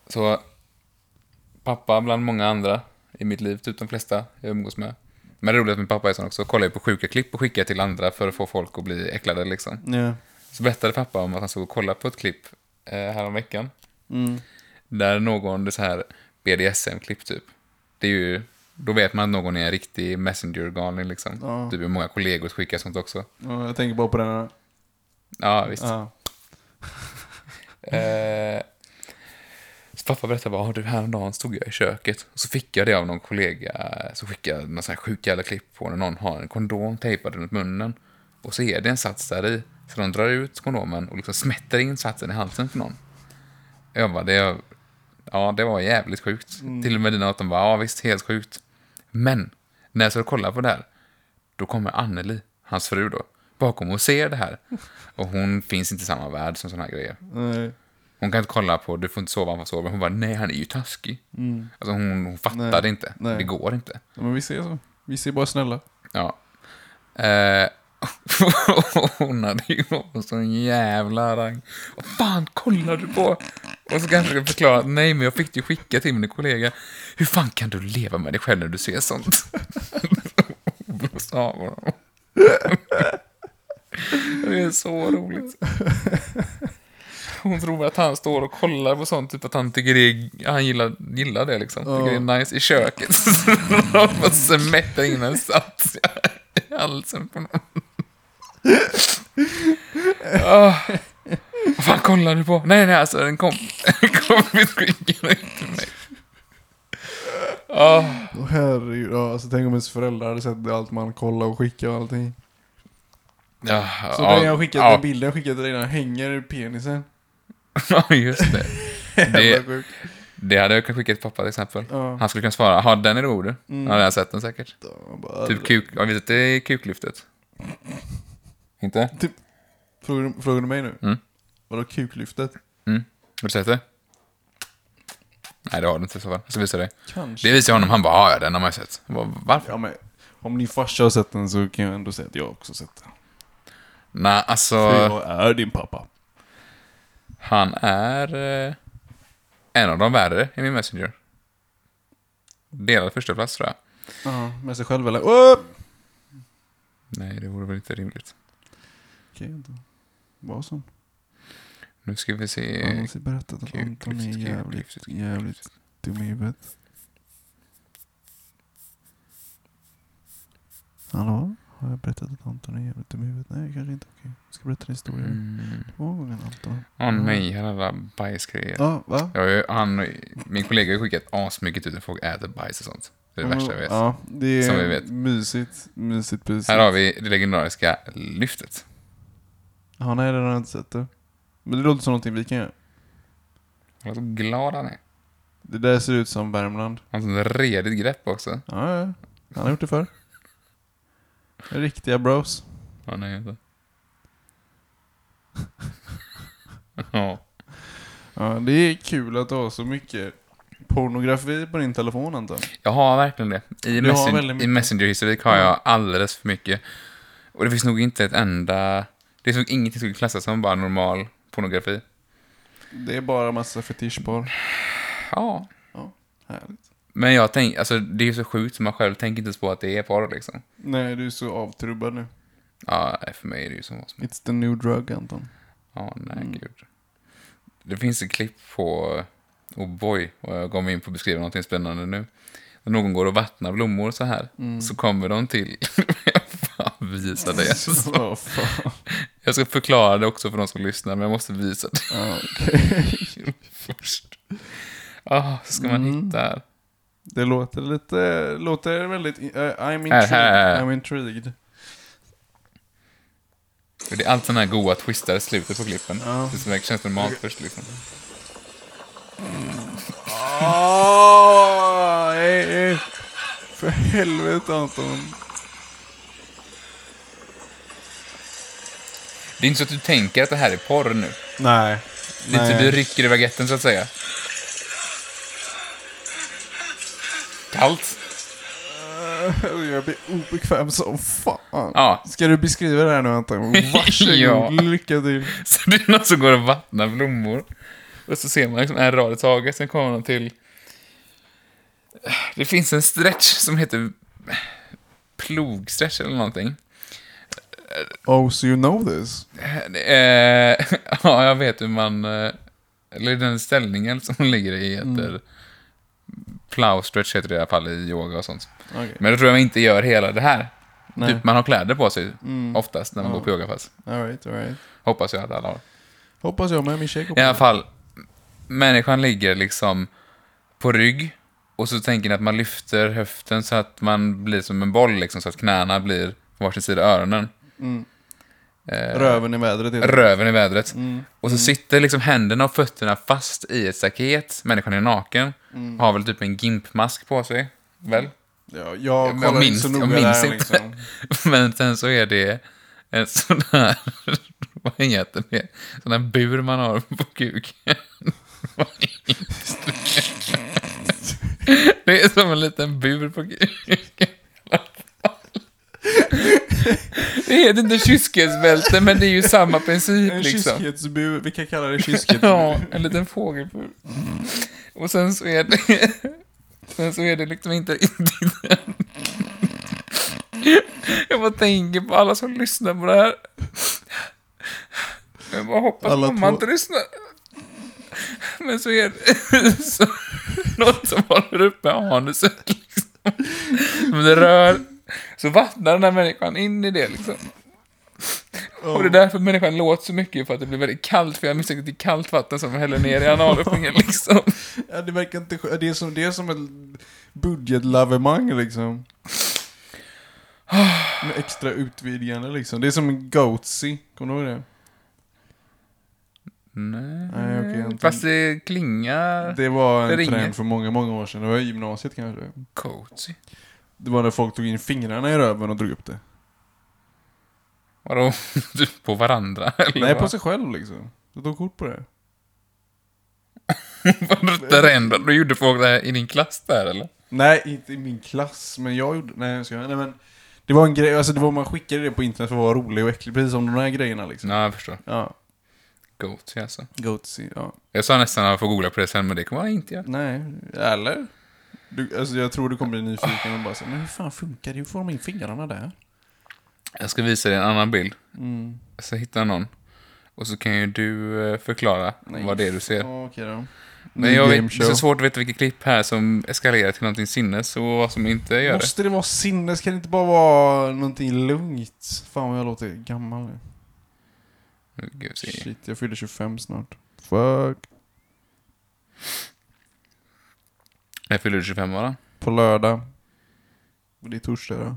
[SPEAKER 1] Så... Pappa bland många andra i mitt liv, typ de flesta jag umgås med. Men det roliga är att min pappa är sån också. Kollar ju på sjuka klipp och skickar till andra för att få folk att bli äcklade liksom.
[SPEAKER 2] Ja.
[SPEAKER 1] Så berättade pappa om att han såg och kollade på ett klipp eh, häromveckan.
[SPEAKER 2] Mm.
[SPEAKER 1] Där någon, det är så här BDSM-klipp typ. Det är ju, då vet man att någon är en riktig messenger-galning liksom.
[SPEAKER 2] Ja.
[SPEAKER 1] Typ hur många kollegor skickar sånt också.
[SPEAKER 2] Ja, Jag tänker bara på den här.
[SPEAKER 1] Ja, visst.
[SPEAKER 2] Ja.
[SPEAKER 1] Eh, så pappa berättade bara, "Ah, du häromdagen stod jag i köket och så fick jag det av någon kollega så skickade någon sån här sjuk jävla klipp på när någon har en kondom tejpad runt munnen och så är det en sats där i. Så de drar ut kondomen och liksom smätter in satsen i halsen på någon. Jag bara, det, ja, det var jävligt sjukt. Till och med dina att de bara, ja visst, helt sjukt. Men, när jag så kollar på det här, då kommer Anneli, hans fru då, bakom och ser det här. Och hon finns inte i samma värld som såna här grejer.
[SPEAKER 2] Nej.
[SPEAKER 1] Hon kan inte kolla på du får inte sova, han får sova. Hon bara, nej han är ju taskig. Alltså hon, hon fattade
[SPEAKER 2] Mm. Nej,
[SPEAKER 1] inte.
[SPEAKER 2] nej.
[SPEAKER 1] Det går inte.
[SPEAKER 2] Men vi ser så. Vi ser bara snälla.
[SPEAKER 1] Ja. Eh, hon hade ju någon sån jävla rang. Vad fan kollar du på? Och så kanske jag förklarar att nej, men jag fick det ju skicka till min kollega. Hur fan kan du leva med dig själv när du ser sånt? Hon blåste av honom. Det är så roligt. Hon tror att han står och kollar på sånt, typ att han tycker det är, han gillar, gillar det liksom. Tycker det är nice i köket. Hon bara smätter in en sats. i halsen på någon. Ah. Vad fan kollar du på? Nej, nej, alltså den kom. Den kom vid skinkorna in till mig. Åh,
[SPEAKER 2] Åh, herregud. Ja, alltså, tänk om ens föräldrar hade sett allt man kollar och skickar och allting.
[SPEAKER 1] ja,
[SPEAKER 2] Så
[SPEAKER 1] ja,
[SPEAKER 2] den, jag skickat,
[SPEAKER 1] ja.
[SPEAKER 2] den bilden jag skickat till dig, den hänger i penisen.
[SPEAKER 1] Ja, just det.
[SPEAKER 2] Jävla
[SPEAKER 1] det.
[SPEAKER 2] sjukt.
[SPEAKER 1] Det hade jag kunnat skicka till pappa till exempel.
[SPEAKER 2] Ja. Mm.
[SPEAKER 1] Han skulle kunna svara, ja den är rolig. Ja, den har sett den säkert.
[SPEAKER 2] Ja, bara-
[SPEAKER 1] Typ kuk, har vi sett det i kuklyftet? Inte?
[SPEAKER 2] Typ, frågar, du- frågar du mig nu?
[SPEAKER 1] Mm.
[SPEAKER 2] Vadå kuklyftet?
[SPEAKER 1] Har du sett det? Nej, det har du inte i så fall. Jag ska visa dig.
[SPEAKER 2] Kanske.
[SPEAKER 1] Det visade jag honom, han bara, "Ja, ja, den har man ju sett. Jag bara, Varför?
[SPEAKER 2] Ja, men, om din farsa har sett den så kan jag ändå säga att jag också sett den.
[SPEAKER 1] Nej, alltså,
[SPEAKER 2] För jag är din pappa.
[SPEAKER 1] han är eh, en av de värre i min Messenger. Delad första plats tror jag.
[SPEAKER 2] Ja, med sig själv eller? Åh!
[SPEAKER 1] Nej, det vore väl inte rimligt.
[SPEAKER 2] Okej, då. Vad som.
[SPEAKER 1] Nu ska vi se.
[SPEAKER 2] Han har också berättat att
[SPEAKER 1] kul,
[SPEAKER 2] Anton är
[SPEAKER 1] kul,
[SPEAKER 2] jävligt,
[SPEAKER 1] kul.
[SPEAKER 2] jävligt dum i huvudet. Hallå? Har jag berättat att Anton är jävligt dum i huvudet? Nej, kanske inte. Okej. Jag ska berätta en historia.
[SPEAKER 1] Mm.
[SPEAKER 2] Två gånger Anton.
[SPEAKER 1] Åh nej, han alla bajsgrejer.
[SPEAKER 2] Ja, va?
[SPEAKER 1] Jag har ju, han, min kollega har ju skickat asmycket ut när folk äter bajs och sånt. Det är det värsta jag vet.
[SPEAKER 2] Mm, Ja, det är
[SPEAKER 1] Som vi vet.
[SPEAKER 2] mysigt. Mysigt pysigt.
[SPEAKER 1] Här har vi det legendariska lyftet.
[SPEAKER 2] Ja, nej, det har jag inte sett det. Men det låter som någonting vi kan göra.
[SPEAKER 1] Kolla så glad han är.
[SPEAKER 2] Det där ser ut som Värmland.
[SPEAKER 1] Han har sånt redigt grepp också.
[SPEAKER 2] Ja, ja. Han har gjort det förr. Riktiga bros.
[SPEAKER 1] Ja, nej, inte. ja.
[SPEAKER 2] Ja, det är kul att du har så mycket pornografi på din telefon Anton.
[SPEAKER 1] Jag har verkligen det. I,
[SPEAKER 2] har
[SPEAKER 1] messen-
[SPEAKER 2] väldigt mycket.
[SPEAKER 1] i Messenger-historik har jag alldeles för mycket. Och det finns nog inte ett enda... Det är nog ingenting som skulle klassas som bara normal pornografi.
[SPEAKER 2] Det är bara massa fetischporr.
[SPEAKER 1] Ja.
[SPEAKER 2] Ja, härligt.
[SPEAKER 1] Men jag tänker, alltså det är ju så sjukt så man själv tänker inte ens på att det är porr liksom.
[SPEAKER 2] Nej, du är så avtrubbad nu.
[SPEAKER 1] Ja, nej, för mig är det ju som vad som
[SPEAKER 2] It's the new drug Anton.
[SPEAKER 1] Ja, nej gud. Det finns ett klipp på oh boy, och jag gav mig in på att beskriva någonting spännande nu. När någon går och vattnar blommor så här, så kommer de till... jag fan visa det.
[SPEAKER 2] Så, vad fan.
[SPEAKER 1] Jag ska förklara det också för de som lyssnar, men jag måste visa det
[SPEAKER 2] Ja, okej.
[SPEAKER 1] först. Ah, så ska man hitta här.
[SPEAKER 2] Det låter lite, låter väldigt, eh, I'm
[SPEAKER 1] Här, här,
[SPEAKER 2] intrigued.
[SPEAKER 1] här.
[SPEAKER 2] I'm intrigued.
[SPEAKER 1] För Det är allt sådana här goa twistar i slutet på klippen. Det är som- det känns normalt först liksom. Ah,
[SPEAKER 2] Åh, eh, eh. För helvete Anton.
[SPEAKER 1] Det är inte så att du tänker att det här är porr nu.
[SPEAKER 2] Nej.
[SPEAKER 1] Det är inte du rycker i baguetten så att säga. Kallt.
[SPEAKER 2] Jag blir obekväm som fan.
[SPEAKER 1] Ja.
[SPEAKER 2] Ska du beskriva det här nu Anton? Varsågod,
[SPEAKER 1] Ja.
[SPEAKER 2] lycka till.
[SPEAKER 1] Så det är någon som går och vattnar blommor. Och så ser man liksom en rad i taget, sen kommer de till... Det finns en stretch som heter plogstretch eller någonting.
[SPEAKER 2] Oh, so you know this?
[SPEAKER 1] Eh, ja, jag vet hur man... eh, Eller den ställningen som hon ligger i heter... Plow stretch heter det i alla fall i yoga och sånt.
[SPEAKER 2] Okej.
[SPEAKER 1] Men då tror jag man inte gör hela det här.
[SPEAKER 2] Nej.
[SPEAKER 1] Typ man har kläder på sig oftast när man går på yogapass.
[SPEAKER 2] Alright, alright.
[SPEAKER 1] Hoppas jag att alla har.
[SPEAKER 2] Hoppas jag med min tjej går på
[SPEAKER 1] I alla
[SPEAKER 2] det.
[SPEAKER 1] fall, människan ligger liksom på rygg och så tänker ni att man lyfter höften så att man blir som en boll liksom, så att knäna blir på varsin sida av öronen.
[SPEAKER 2] Röven i vädret heter det.
[SPEAKER 1] Röven i vädret. Och så sitter liksom händerna och fötterna fast i ett staket. Människan är naken. Har väl typ en gimpmask på sig. Väl?
[SPEAKER 2] Ja, jag
[SPEAKER 1] Jag
[SPEAKER 2] kollar inte
[SPEAKER 1] minns,
[SPEAKER 2] så
[SPEAKER 1] jag
[SPEAKER 2] noga det
[SPEAKER 1] minns
[SPEAKER 2] här
[SPEAKER 1] inte.
[SPEAKER 2] liksom.
[SPEAKER 1] Men sen så är det en sån här... Vad heter det? Sån här bur man har på kuken. Vad heter det? Det är som en liten bur på kuken. Det heter inte kyskhetsbälte, men det är ju samma princip
[SPEAKER 2] En
[SPEAKER 1] liksom.
[SPEAKER 2] kyskhetsbur, vi kan kalla det kyskhetsbur.
[SPEAKER 1] Ja, en liten fågelbur. Och sen så är det... Sen så är det liksom inte riktigt... Jag bara tänker på alla som lyssnar på det här. Jag bara hoppas
[SPEAKER 2] Alla
[SPEAKER 1] mamma
[SPEAKER 2] två-
[SPEAKER 1] inte lyssnar. Men så är det så, något som håller uppe anuset liksom. Men det rör Så vattnar den här människan in i det liksom. Och det är därför människan låter så mycket, för att det blir väldigt kallt, för jag misstänker att det är kallt vatten som häller ner i analöppningen liksom.
[SPEAKER 2] Ja, det verkar inte skö- det är som Det är som ett budgetlavemang liksom. Med extra utvidgande liksom. Det är som en goatsy. Kommer du ihåg det?
[SPEAKER 1] Nej,
[SPEAKER 2] Nej, okej, jag inte-
[SPEAKER 1] Fast det klingar
[SPEAKER 2] Det var
[SPEAKER 1] Det
[SPEAKER 2] en
[SPEAKER 1] ringer.
[SPEAKER 2] trend för många, många år sedan. Det var i gymnasiet kanske.
[SPEAKER 1] cozy.
[SPEAKER 2] Det var när folk tog in fingrarna i röven och drog upp det.
[SPEAKER 1] Vadå? Typ på varandra? Eller
[SPEAKER 2] Nej,
[SPEAKER 1] vad?
[SPEAKER 2] på sig själv liksom. De tog kort på det.
[SPEAKER 1] Vad rendrade du gjorde folk det här i din klass där eller?
[SPEAKER 2] Nej, inte i min klass, men jag gjorde... Nej, jag ska, nej men... Det var en grej, alltså det var, man skickade det på internet för att vara rolig och äcklig, precis som de här grejerna liksom.
[SPEAKER 1] Ja, jag förstår.
[SPEAKER 2] Ja,
[SPEAKER 1] Goatsy alltså.
[SPEAKER 2] goatsy, ja.
[SPEAKER 1] Jag sa nästan att jag får googla på det sen, men det kommer jag inte göra.
[SPEAKER 2] Nej, eller? Du, alltså jag tror du kommer bli nyfiken och bara säga, men hur fan funkar det? Hur får de in fingrarna där?
[SPEAKER 1] Jag ska visa dig en annan bild.
[SPEAKER 2] Mm.
[SPEAKER 1] Jag ska hitta någon. Och så kan ju du eh, förklara vad det är du ser.
[SPEAKER 2] Ja, Okej då.
[SPEAKER 1] Men jag vet, det är
[SPEAKER 2] gameshow.
[SPEAKER 1] så svårt att veta vilket klipp här som eskalerar till någonting sinnes och vad som inte gör det.
[SPEAKER 2] Måste det vara sinnes? Kan det inte bara vara någonting lugnt? Fan vad jag låter gammal nu.
[SPEAKER 1] Nu ska vi se.
[SPEAKER 2] Shit, jag fyller 25 snart. Fuck.
[SPEAKER 1] När fyller du 25 bara?
[SPEAKER 2] På lördag. Och det är torsdag då.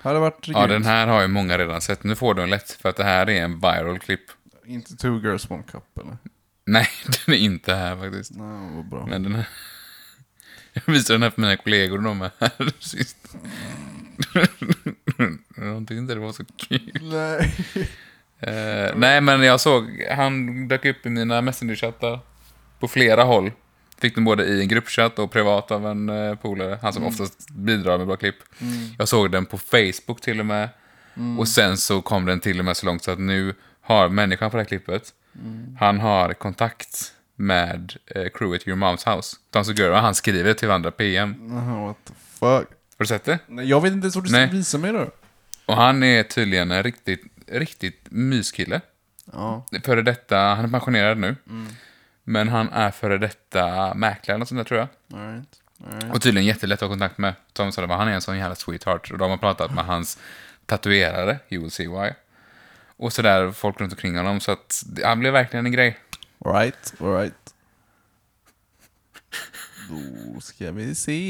[SPEAKER 2] Hade varit
[SPEAKER 1] Ja,
[SPEAKER 2] grymt.
[SPEAKER 1] den här har ju många redan sett. Nu får du en lätt, för att det här är en viral klipp.
[SPEAKER 2] Inte two girls one cup eller?
[SPEAKER 1] Nej, den är inte här faktiskt.
[SPEAKER 2] Nej, vad bra.
[SPEAKER 1] Men den här... Jag visade den här för mina kollegor och de är här sist. De tyckte inte det var så kul.
[SPEAKER 2] Nej.
[SPEAKER 1] Eh, nej, men jag såg, han dök upp i mina Messenger-chattar på flera håll. Fick den både i en gruppchatt och privat av en eh, polare, han som oftast bidrar med bra klipp. Jag såg den på Facebook till och med. Och sen så kom den till och med så långt så att nu har människan på det här klippet, han har kontakt med eh, crewet Your Mom's House. De som gör, och han skriver till varandra PM.
[SPEAKER 2] Jaha, what the fuck.
[SPEAKER 1] Har du sett det?
[SPEAKER 2] Nej, jag vet inte ens vad du ska
[SPEAKER 1] Nej.
[SPEAKER 2] visa mig då.
[SPEAKER 1] Och han är tydligen en riktigt, riktigt myskille.
[SPEAKER 2] Ja.
[SPEAKER 1] före detta, han är pensionerad nu. Men han är före detta mäklare eller något sånt där tror jag.
[SPEAKER 2] Alright.
[SPEAKER 1] Och tydligen jättelätt att ha kontakt med. Tom sa det, han är en sån jävla sweetheart. Och de har pratat med hans tatuerare, you will see why. Och sådär, folk runt omkring honom. Så att det- han blev verkligen en grej.
[SPEAKER 2] Alright, alright. Då ska vi se.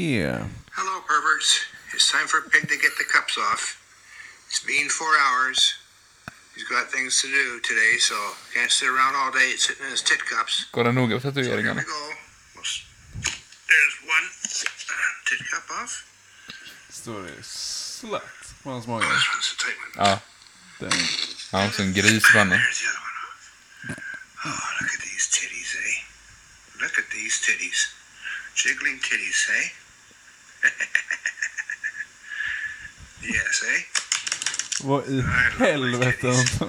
[SPEAKER 7] Hello, perverts. It's time for Pig to get the cups off. It's been four hours. He's got things to do today, so can't sit around all day sitting in his tit cups.
[SPEAKER 1] Går han noga på
[SPEAKER 7] So here
[SPEAKER 1] tatueringarna?
[SPEAKER 7] we go. There's one uh, tit cup off.
[SPEAKER 2] Står det slatt på hans mage.
[SPEAKER 7] This one's a tight one.
[SPEAKER 1] Ja,
[SPEAKER 2] Den.
[SPEAKER 1] han har också en gris i pannan.
[SPEAKER 7] There's the other one off. Oh, look at these titties, eh? Look at these titties. Jiggling titties, eh? yes, eh?
[SPEAKER 2] Vad i helvete Anton?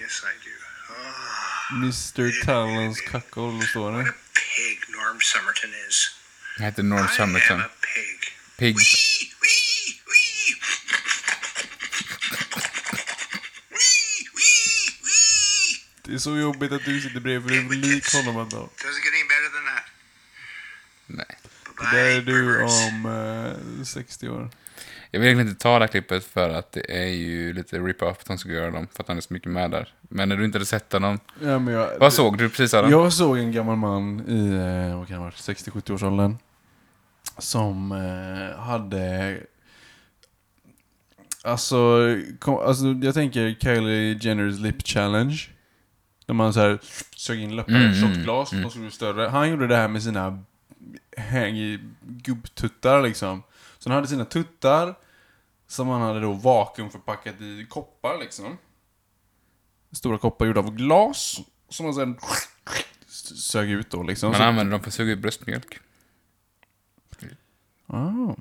[SPEAKER 7] Yes, I do. Oh.
[SPEAKER 2] Mr Talons kackhål står
[SPEAKER 7] What
[SPEAKER 2] det.
[SPEAKER 7] a pig Norm Summerton is.
[SPEAKER 1] Han heter Norm
[SPEAKER 7] I am
[SPEAKER 1] Summerton.
[SPEAKER 7] a pig.
[SPEAKER 1] Pig.
[SPEAKER 7] Wee, wee, wee. Wee, wee, wee.
[SPEAKER 2] Det är så jobbigt att du sitter bredvid för du är lik honom Anton.
[SPEAKER 7] Doesn't get any better than that.
[SPEAKER 1] Nej.
[SPEAKER 7] Bye-bye,
[SPEAKER 2] Där
[SPEAKER 1] um,
[SPEAKER 2] är du
[SPEAKER 7] perverts.
[SPEAKER 2] om eh, 60 år.
[SPEAKER 1] Jag vill egentligen inte ta det här klippet för att det är ju lite rip-off på Tom Segura och dem, för att han är så mycket med där. Men när du inte hade sett honom,
[SPEAKER 2] Ja, men jag,
[SPEAKER 1] vad såg du precis Adam?
[SPEAKER 2] Jag såg en gammal man i, eh, vad kan det ha varit, 60-70-årsåldern. Som eh, hade... Alltså, kom, alltså, jag tänker Kylie Jenners lip challenge. När man så här sög in läppar i ett
[SPEAKER 1] Mm,
[SPEAKER 2] tjockt glas, de skulle bli större. Han gjorde det här med sina häng i gubbtuttar liksom. Så han hade sina tuttar som han hade då vakuumförpackat i koppar liksom. Stora koppar gjorda av glas som han sen sög ut då liksom.
[SPEAKER 1] Man
[SPEAKER 2] Så-
[SPEAKER 1] använder dem för att suga ut bröstmjölk.
[SPEAKER 2] Ah,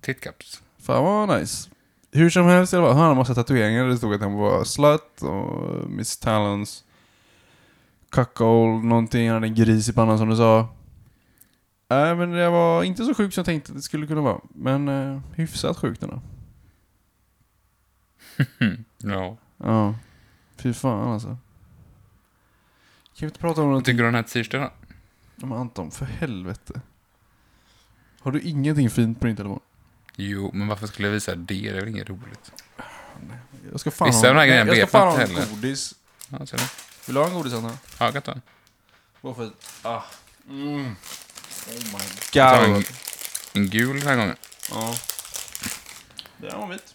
[SPEAKER 1] Titcaps.
[SPEAKER 2] fan vad nice. Hur som helst, i alla fall, han hade en massa tatueringar. Det stod att han var slut och eh, Miss Talons cuckold någonting. Han hade en gris i pannan som du sa. Nej, men det var inte så sjukt som jag tänkte att det skulle kunna vara. Men eh, hyfsat sjukt ändå.
[SPEAKER 1] Ja.
[SPEAKER 2] Ja. Fy fan alltså. Kan vi inte prata om
[SPEAKER 1] Vad
[SPEAKER 2] någonting
[SPEAKER 1] tycker du om den här t-shirten då?
[SPEAKER 2] om Anton? För helvete. Har du ingenting fint på din telefon?
[SPEAKER 1] Jo, men varför skulle jag visa det? Det är väl inget roligt?
[SPEAKER 2] Jag ska fan
[SPEAKER 1] Vissa
[SPEAKER 2] ha-
[SPEAKER 1] av de här grejerna
[SPEAKER 2] jag ska
[SPEAKER 1] vet man
[SPEAKER 2] fan
[SPEAKER 1] inte
[SPEAKER 2] ha en
[SPEAKER 1] heller.
[SPEAKER 2] godis.
[SPEAKER 1] Ja, ser du?
[SPEAKER 2] Vill du ha en godis Anna?
[SPEAKER 1] Ja, gott då.
[SPEAKER 2] Vad fint. Ah. Mm. Oh my
[SPEAKER 1] Ta
[SPEAKER 2] god.
[SPEAKER 1] en, en gul den här gången.
[SPEAKER 2] Ja. Det här var mitt.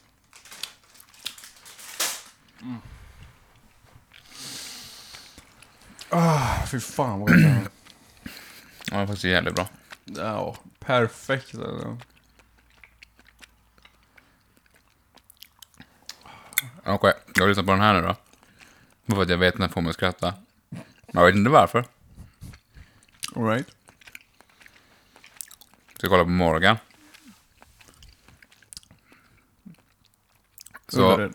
[SPEAKER 2] Mm. Ah, fy fan vad gott det här
[SPEAKER 1] Ja, den är faktiskt jävligt bra.
[SPEAKER 2] var. Ja, perfekt. alltså.
[SPEAKER 1] Okej, jag lyssnar på den här nu då. Bara för att jag vet när den får mig att skratta. Jag vet inte varför.
[SPEAKER 2] All right.
[SPEAKER 1] Ska kolla på Morgan. Så,
[SPEAKER 2] Ullared,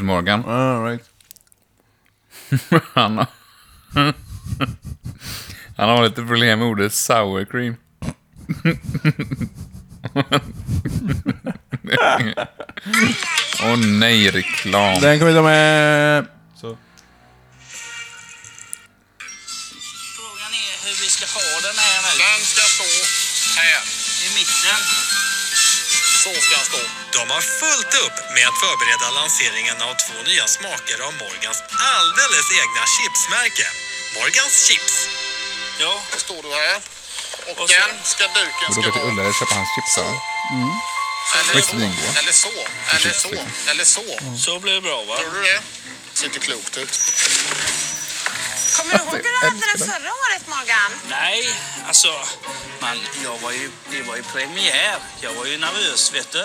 [SPEAKER 2] Ullared.
[SPEAKER 1] Morgan.
[SPEAKER 2] All right.
[SPEAKER 1] Han har, han har lite problem med ordet sour cream. Åh nej, reklam.
[SPEAKER 2] Den kommer vi ta med. Så.
[SPEAKER 8] Frågan är hur vi ska ha den här nu. Den ska stå här. I mitten. Så ska den stå.
[SPEAKER 6] De har fullt upp med att förbereda lanseringen av två nya smaker av Morgans alldeles egna chipsmärke. Morgans chips.
[SPEAKER 8] Ja, då står du här. Och, den ska duken
[SPEAKER 1] Och
[SPEAKER 8] ska
[SPEAKER 1] då går till
[SPEAKER 8] vara...
[SPEAKER 1] Ullared och köper hans chips. eller?
[SPEAKER 8] Mm. Eller
[SPEAKER 1] Visst,
[SPEAKER 8] så.
[SPEAKER 1] den går.
[SPEAKER 8] Eller så. Eller så.
[SPEAKER 1] Ursäkta.
[SPEAKER 8] Eller så. Så blir det bra va? Tror du det? Ser inte klokt ut.
[SPEAKER 9] Kommer du ihåg hur du hade den förra året, Morgan?
[SPEAKER 8] Nej, alltså. Man, jag var ju, det var ju premiär. Jag var ju nervös, vet du.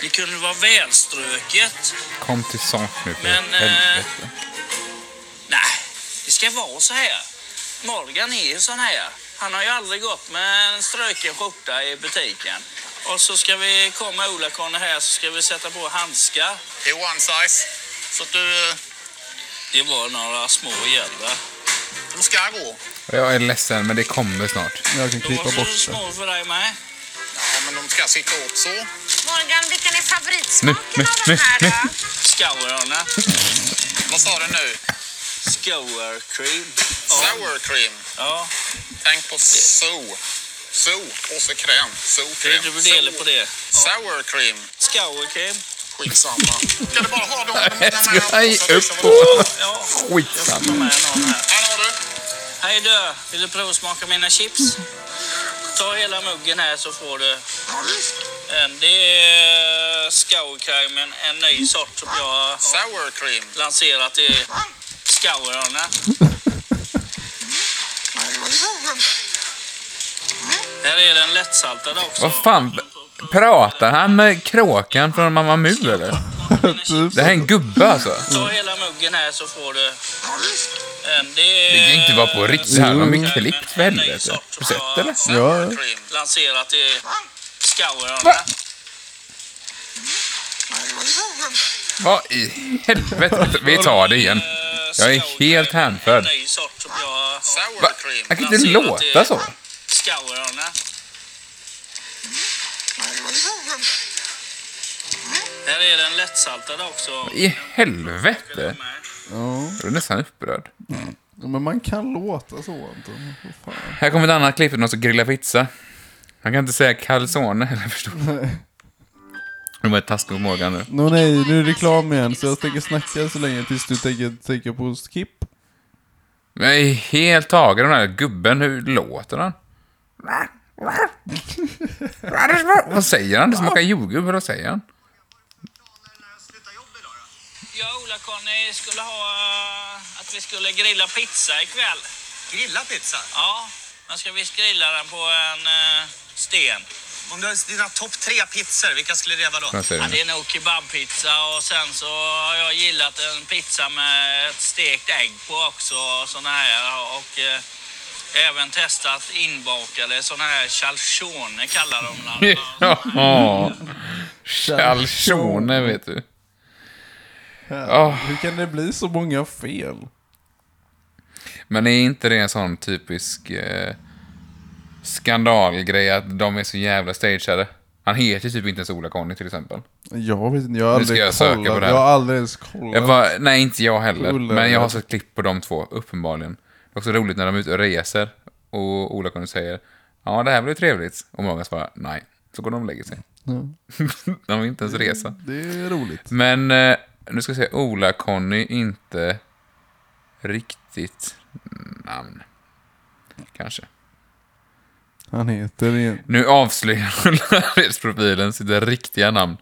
[SPEAKER 8] Det kunde vara välströket.
[SPEAKER 1] Kom till sånt nu för
[SPEAKER 8] Men, eh,
[SPEAKER 1] helvete.
[SPEAKER 8] Nej, det ska vara så här. Morgan är ju sån här. Han har ju aldrig gått med en ströken skjorta i butiken. Och så ska vi komma Ola-Conny här så ska vi sätta på handskar. Det är one size. Så att du... eh, Det var några små gäller. De ska gå.
[SPEAKER 1] Jag är ledsen, men det kommer snart.
[SPEAKER 2] Jag kan
[SPEAKER 8] De
[SPEAKER 2] klippa
[SPEAKER 8] var så
[SPEAKER 2] bort det.
[SPEAKER 8] små för dig med. Ja, men de ska sitta åt så.
[SPEAKER 9] Morgan, vilken är favoritsmaken
[SPEAKER 1] Nu, nu,
[SPEAKER 9] av den här
[SPEAKER 1] nu,
[SPEAKER 9] då?
[SPEAKER 8] Scourarna. Vad sa du nu? Scour cream. Sour cream? Ja. Tänk på so. So och så kräm. Socrem. Du delar på det. Sour cream. Scour cream. Skitsamma. Ska du bara ha dem?
[SPEAKER 1] Jag ska hej upp på
[SPEAKER 8] Ja.
[SPEAKER 1] skitsamma.
[SPEAKER 8] Här har du. Hej du. Vill du provsmaka mina chips? Ta hela muggen här så får du. En, det är Scourcreamen, en ny sort som jag har Sour cream. lanserat i Scourarna. Här är den lättsaltade också.
[SPEAKER 1] Vad fan, pratar han med kråkan från Mamma Mu eller?
[SPEAKER 2] Typ.
[SPEAKER 1] Det här är en gubbe alltså.
[SPEAKER 8] Ta hela muggen här så får du. En, det,
[SPEAKER 1] Det kan ju inte vara på riktigt. Det här har de
[SPEAKER 8] Mm.
[SPEAKER 1] klippt för helvete. Har du sett eller?
[SPEAKER 2] Ja, ja.
[SPEAKER 8] Cream, lanserat i Scourarna. Äh,
[SPEAKER 1] Vad i helvete? Vi tar det igen. Jag är helt hänförd.
[SPEAKER 8] En ny sort som jag har
[SPEAKER 1] Va? Man kan inte
[SPEAKER 8] lanserat i
[SPEAKER 1] låta så.
[SPEAKER 8] Scourarna. Här är den lättsaltade också.
[SPEAKER 1] I helvete?
[SPEAKER 2] ja.
[SPEAKER 1] Jag är nästan upprörd.
[SPEAKER 2] Men man kan låta så Anton. Vad fan.
[SPEAKER 1] Här kommer ett annat klipp från någon som grillar pizza. Han kan inte säga calzone heller förstår du. Det var taskigt mot Morgan nu.
[SPEAKER 2] Nå nej, nu är det reklam igen. Så jag tänker snacka så länge tills du tänker tänka på skip.
[SPEAKER 1] Men Jag är helt tagen av den här gubben. Hur låter han? Vad säger han? Det smakar jordgubb. Vad säger han?
[SPEAKER 8] Jag och Ola-Conny skulle ha eh, att vi skulle grilla pizza ikväll.
[SPEAKER 6] Grilla pizza.
[SPEAKER 8] Ja, men ska vi grilla den på en eh, sten?
[SPEAKER 6] Om du har dina topp tre pizzor, vilka skulle det vara då?
[SPEAKER 1] Vad säger
[SPEAKER 8] Ja,
[SPEAKER 1] han?
[SPEAKER 8] det är nog kebabpizza och sen så har jag gillat en pizza med ett stekt ägg på också och såna här och eh, även testat inbakade såna här calzone kallar de dem.
[SPEAKER 1] Ja. Calzone, vet du.
[SPEAKER 2] Ja, Hur kan det bli så många fel?
[SPEAKER 1] Men är inte det en sån typisk eh, skandalgrej att de är så jävla stageade? Han heter typ inte ens Ola-Conny till exempel.
[SPEAKER 2] Jag vet inte, jag har
[SPEAKER 1] Nu ska
[SPEAKER 2] aldrig
[SPEAKER 1] jag söka på
[SPEAKER 2] kollat.
[SPEAKER 1] det
[SPEAKER 2] Jag
[SPEAKER 1] här.
[SPEAKER 2] har aldrig ens kollat.
[SPEAKER 1] Jag bara, nej, inte jag heller.
[SPEAKER 2] Ullared.
[SPEAKER 1] Men jag har sett klipp på de två, uppenbarligen. Det är också roligt när de är ute och reser och Ola kunde säger ja, det här blir trevligt. Och Morgan svarar nej. Så går de och lägger sig. de vill inte ens resa.
[SPEAKER 2] Det är roligt.
[SPEAKER 1] Men eh, nu ska jag säga Ola-Conny, inte riktigt namn. Kanske.
[SPEAKER 2] Han heter... en-
[SPEAKER 1] Nu avslöjar lärarprofilen sitt riktiga namn.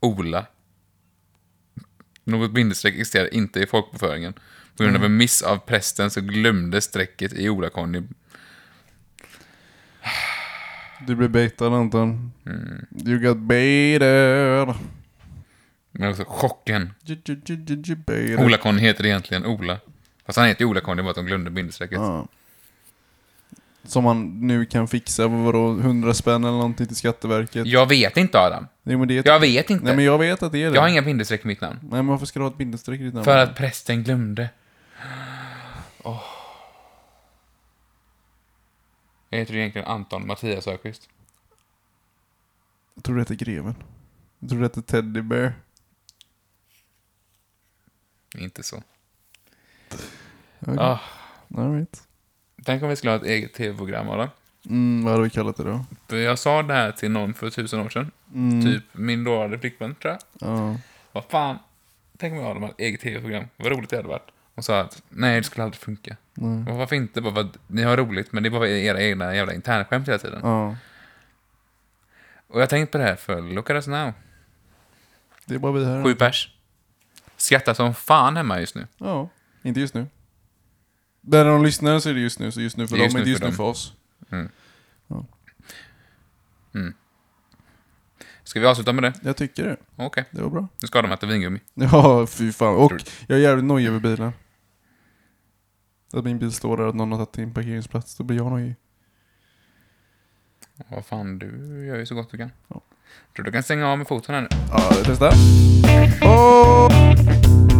[SPEAKER 1] Ola. Något bindestreck existerar inte i folkbokföringen. På
[SPEAKER 2] Mm.
[SPEAKER 1] grund av en miss av prästen så glömde strecket i Ola-Conny.
[SPEAKER 2] Du blir baitad Anton.
[SPEAKER 1] Mm.
[SPEAKER 2] You got baited.
[SPEAKER 1] Men också chocken.
[SPEAKER 2] J- j- j- j- j- baited.
[SPEAKER 1] Ola-Conny heter egentligen Ola. Fast han heter ju Ola-Conny, det var att de glömde bindestrecket.
[SPEAKER 2] Ja. Som man nu kan fixa på vadå, 100 spänn eller någonting till Skatteverket.
[SPEAKER 1] Jag vet inte, Adam.
[SPEAKER 2] Nej, men det är
[SPEAKER 1] Jag vet inte.
[SPEAKER 2] Nej men jag vet att det är det.
[SPEAKER 1] Jag har inga bindestreck i mitt namn.
[SPEAKER 2] Nej men varför ska du ha ett bindestreck i ditt namn?
[SPEAKER 1] För att prästen glömde. Åh. Jag heter ju egentligen Anton Mattias Öqvist.
[SPEAKER 2] Jag tror det heter Greven. Jag tror det heter Teddy Bear.
[SPEAKER 1] Inte så.
[SPEAKER 2] Okay.
[SPEAKER 1] Ah,
[SPEAKER 2] All right.
[SPEAKER 1] tänk om vi skulle ha ett eget tv-program, Adam.
[SPEAKER 2] Mm, vad hade vi kallat det då?
[SPEAKER 1] För Jag sa det här till någon för tusen år sedan. Typ min dåvarande flickvän, tror jag.
[SPEAKER 2] Ja.
[SPEAKER 1] Vad fan. Tänk om jag hade ett eget tv-program. Vad roligt det hade varit. Hon sa att nej, det skulle aldrig funka. Och varför inte? Bara, för att ni har roligt, men det är bara era egna jävla internskämt hela tiden.
[SPEAKER 2] ja.
[SPEAKER 1] Och jag tänkte på det här för look at us now.
[SPEAKER 2] Det är bara vi här.
[SPEAKER 1] Sju pers. Skrattar som fan hemma just nu.
[SPEAKER 2] Ja. Inte just nu. Där de lyssnar så är det just nu. Så just nu för
[SPEAKER 1] Det är
[SPEAKER 2] dem,
[SPEAKER 1] just nu
[SPEAKER 2] inte just
[SPEAKER 1] för
[SPEAKER 2] nu
[SPEAKER 1] dem.
[SPEAKER 2] för oss.
[SPEAKER 1] Ska vi avsluta med det?
[SPEAKER 2] Jag tycker det.
[SPEAKER 1] Okej.
[SPEAKER 2] Det var bra.
[SPEAKER 1] Nu ska de äta vingummi.
[SPEAKER 2] Ja, fy fan. Och jag är jävligt nojig över bilen. Att min bil står där och att någon har tagit in parkeringsplats, då blir jag nojig.
[SPEAKER 1] Vad fan, du gör ju så gott du kan.
[SPEAKER 2] Ja.
[SPEAKER 1] Tror du kan stänga av med foten här nu?
[SPEAKER 2] Ja, testa. Åh!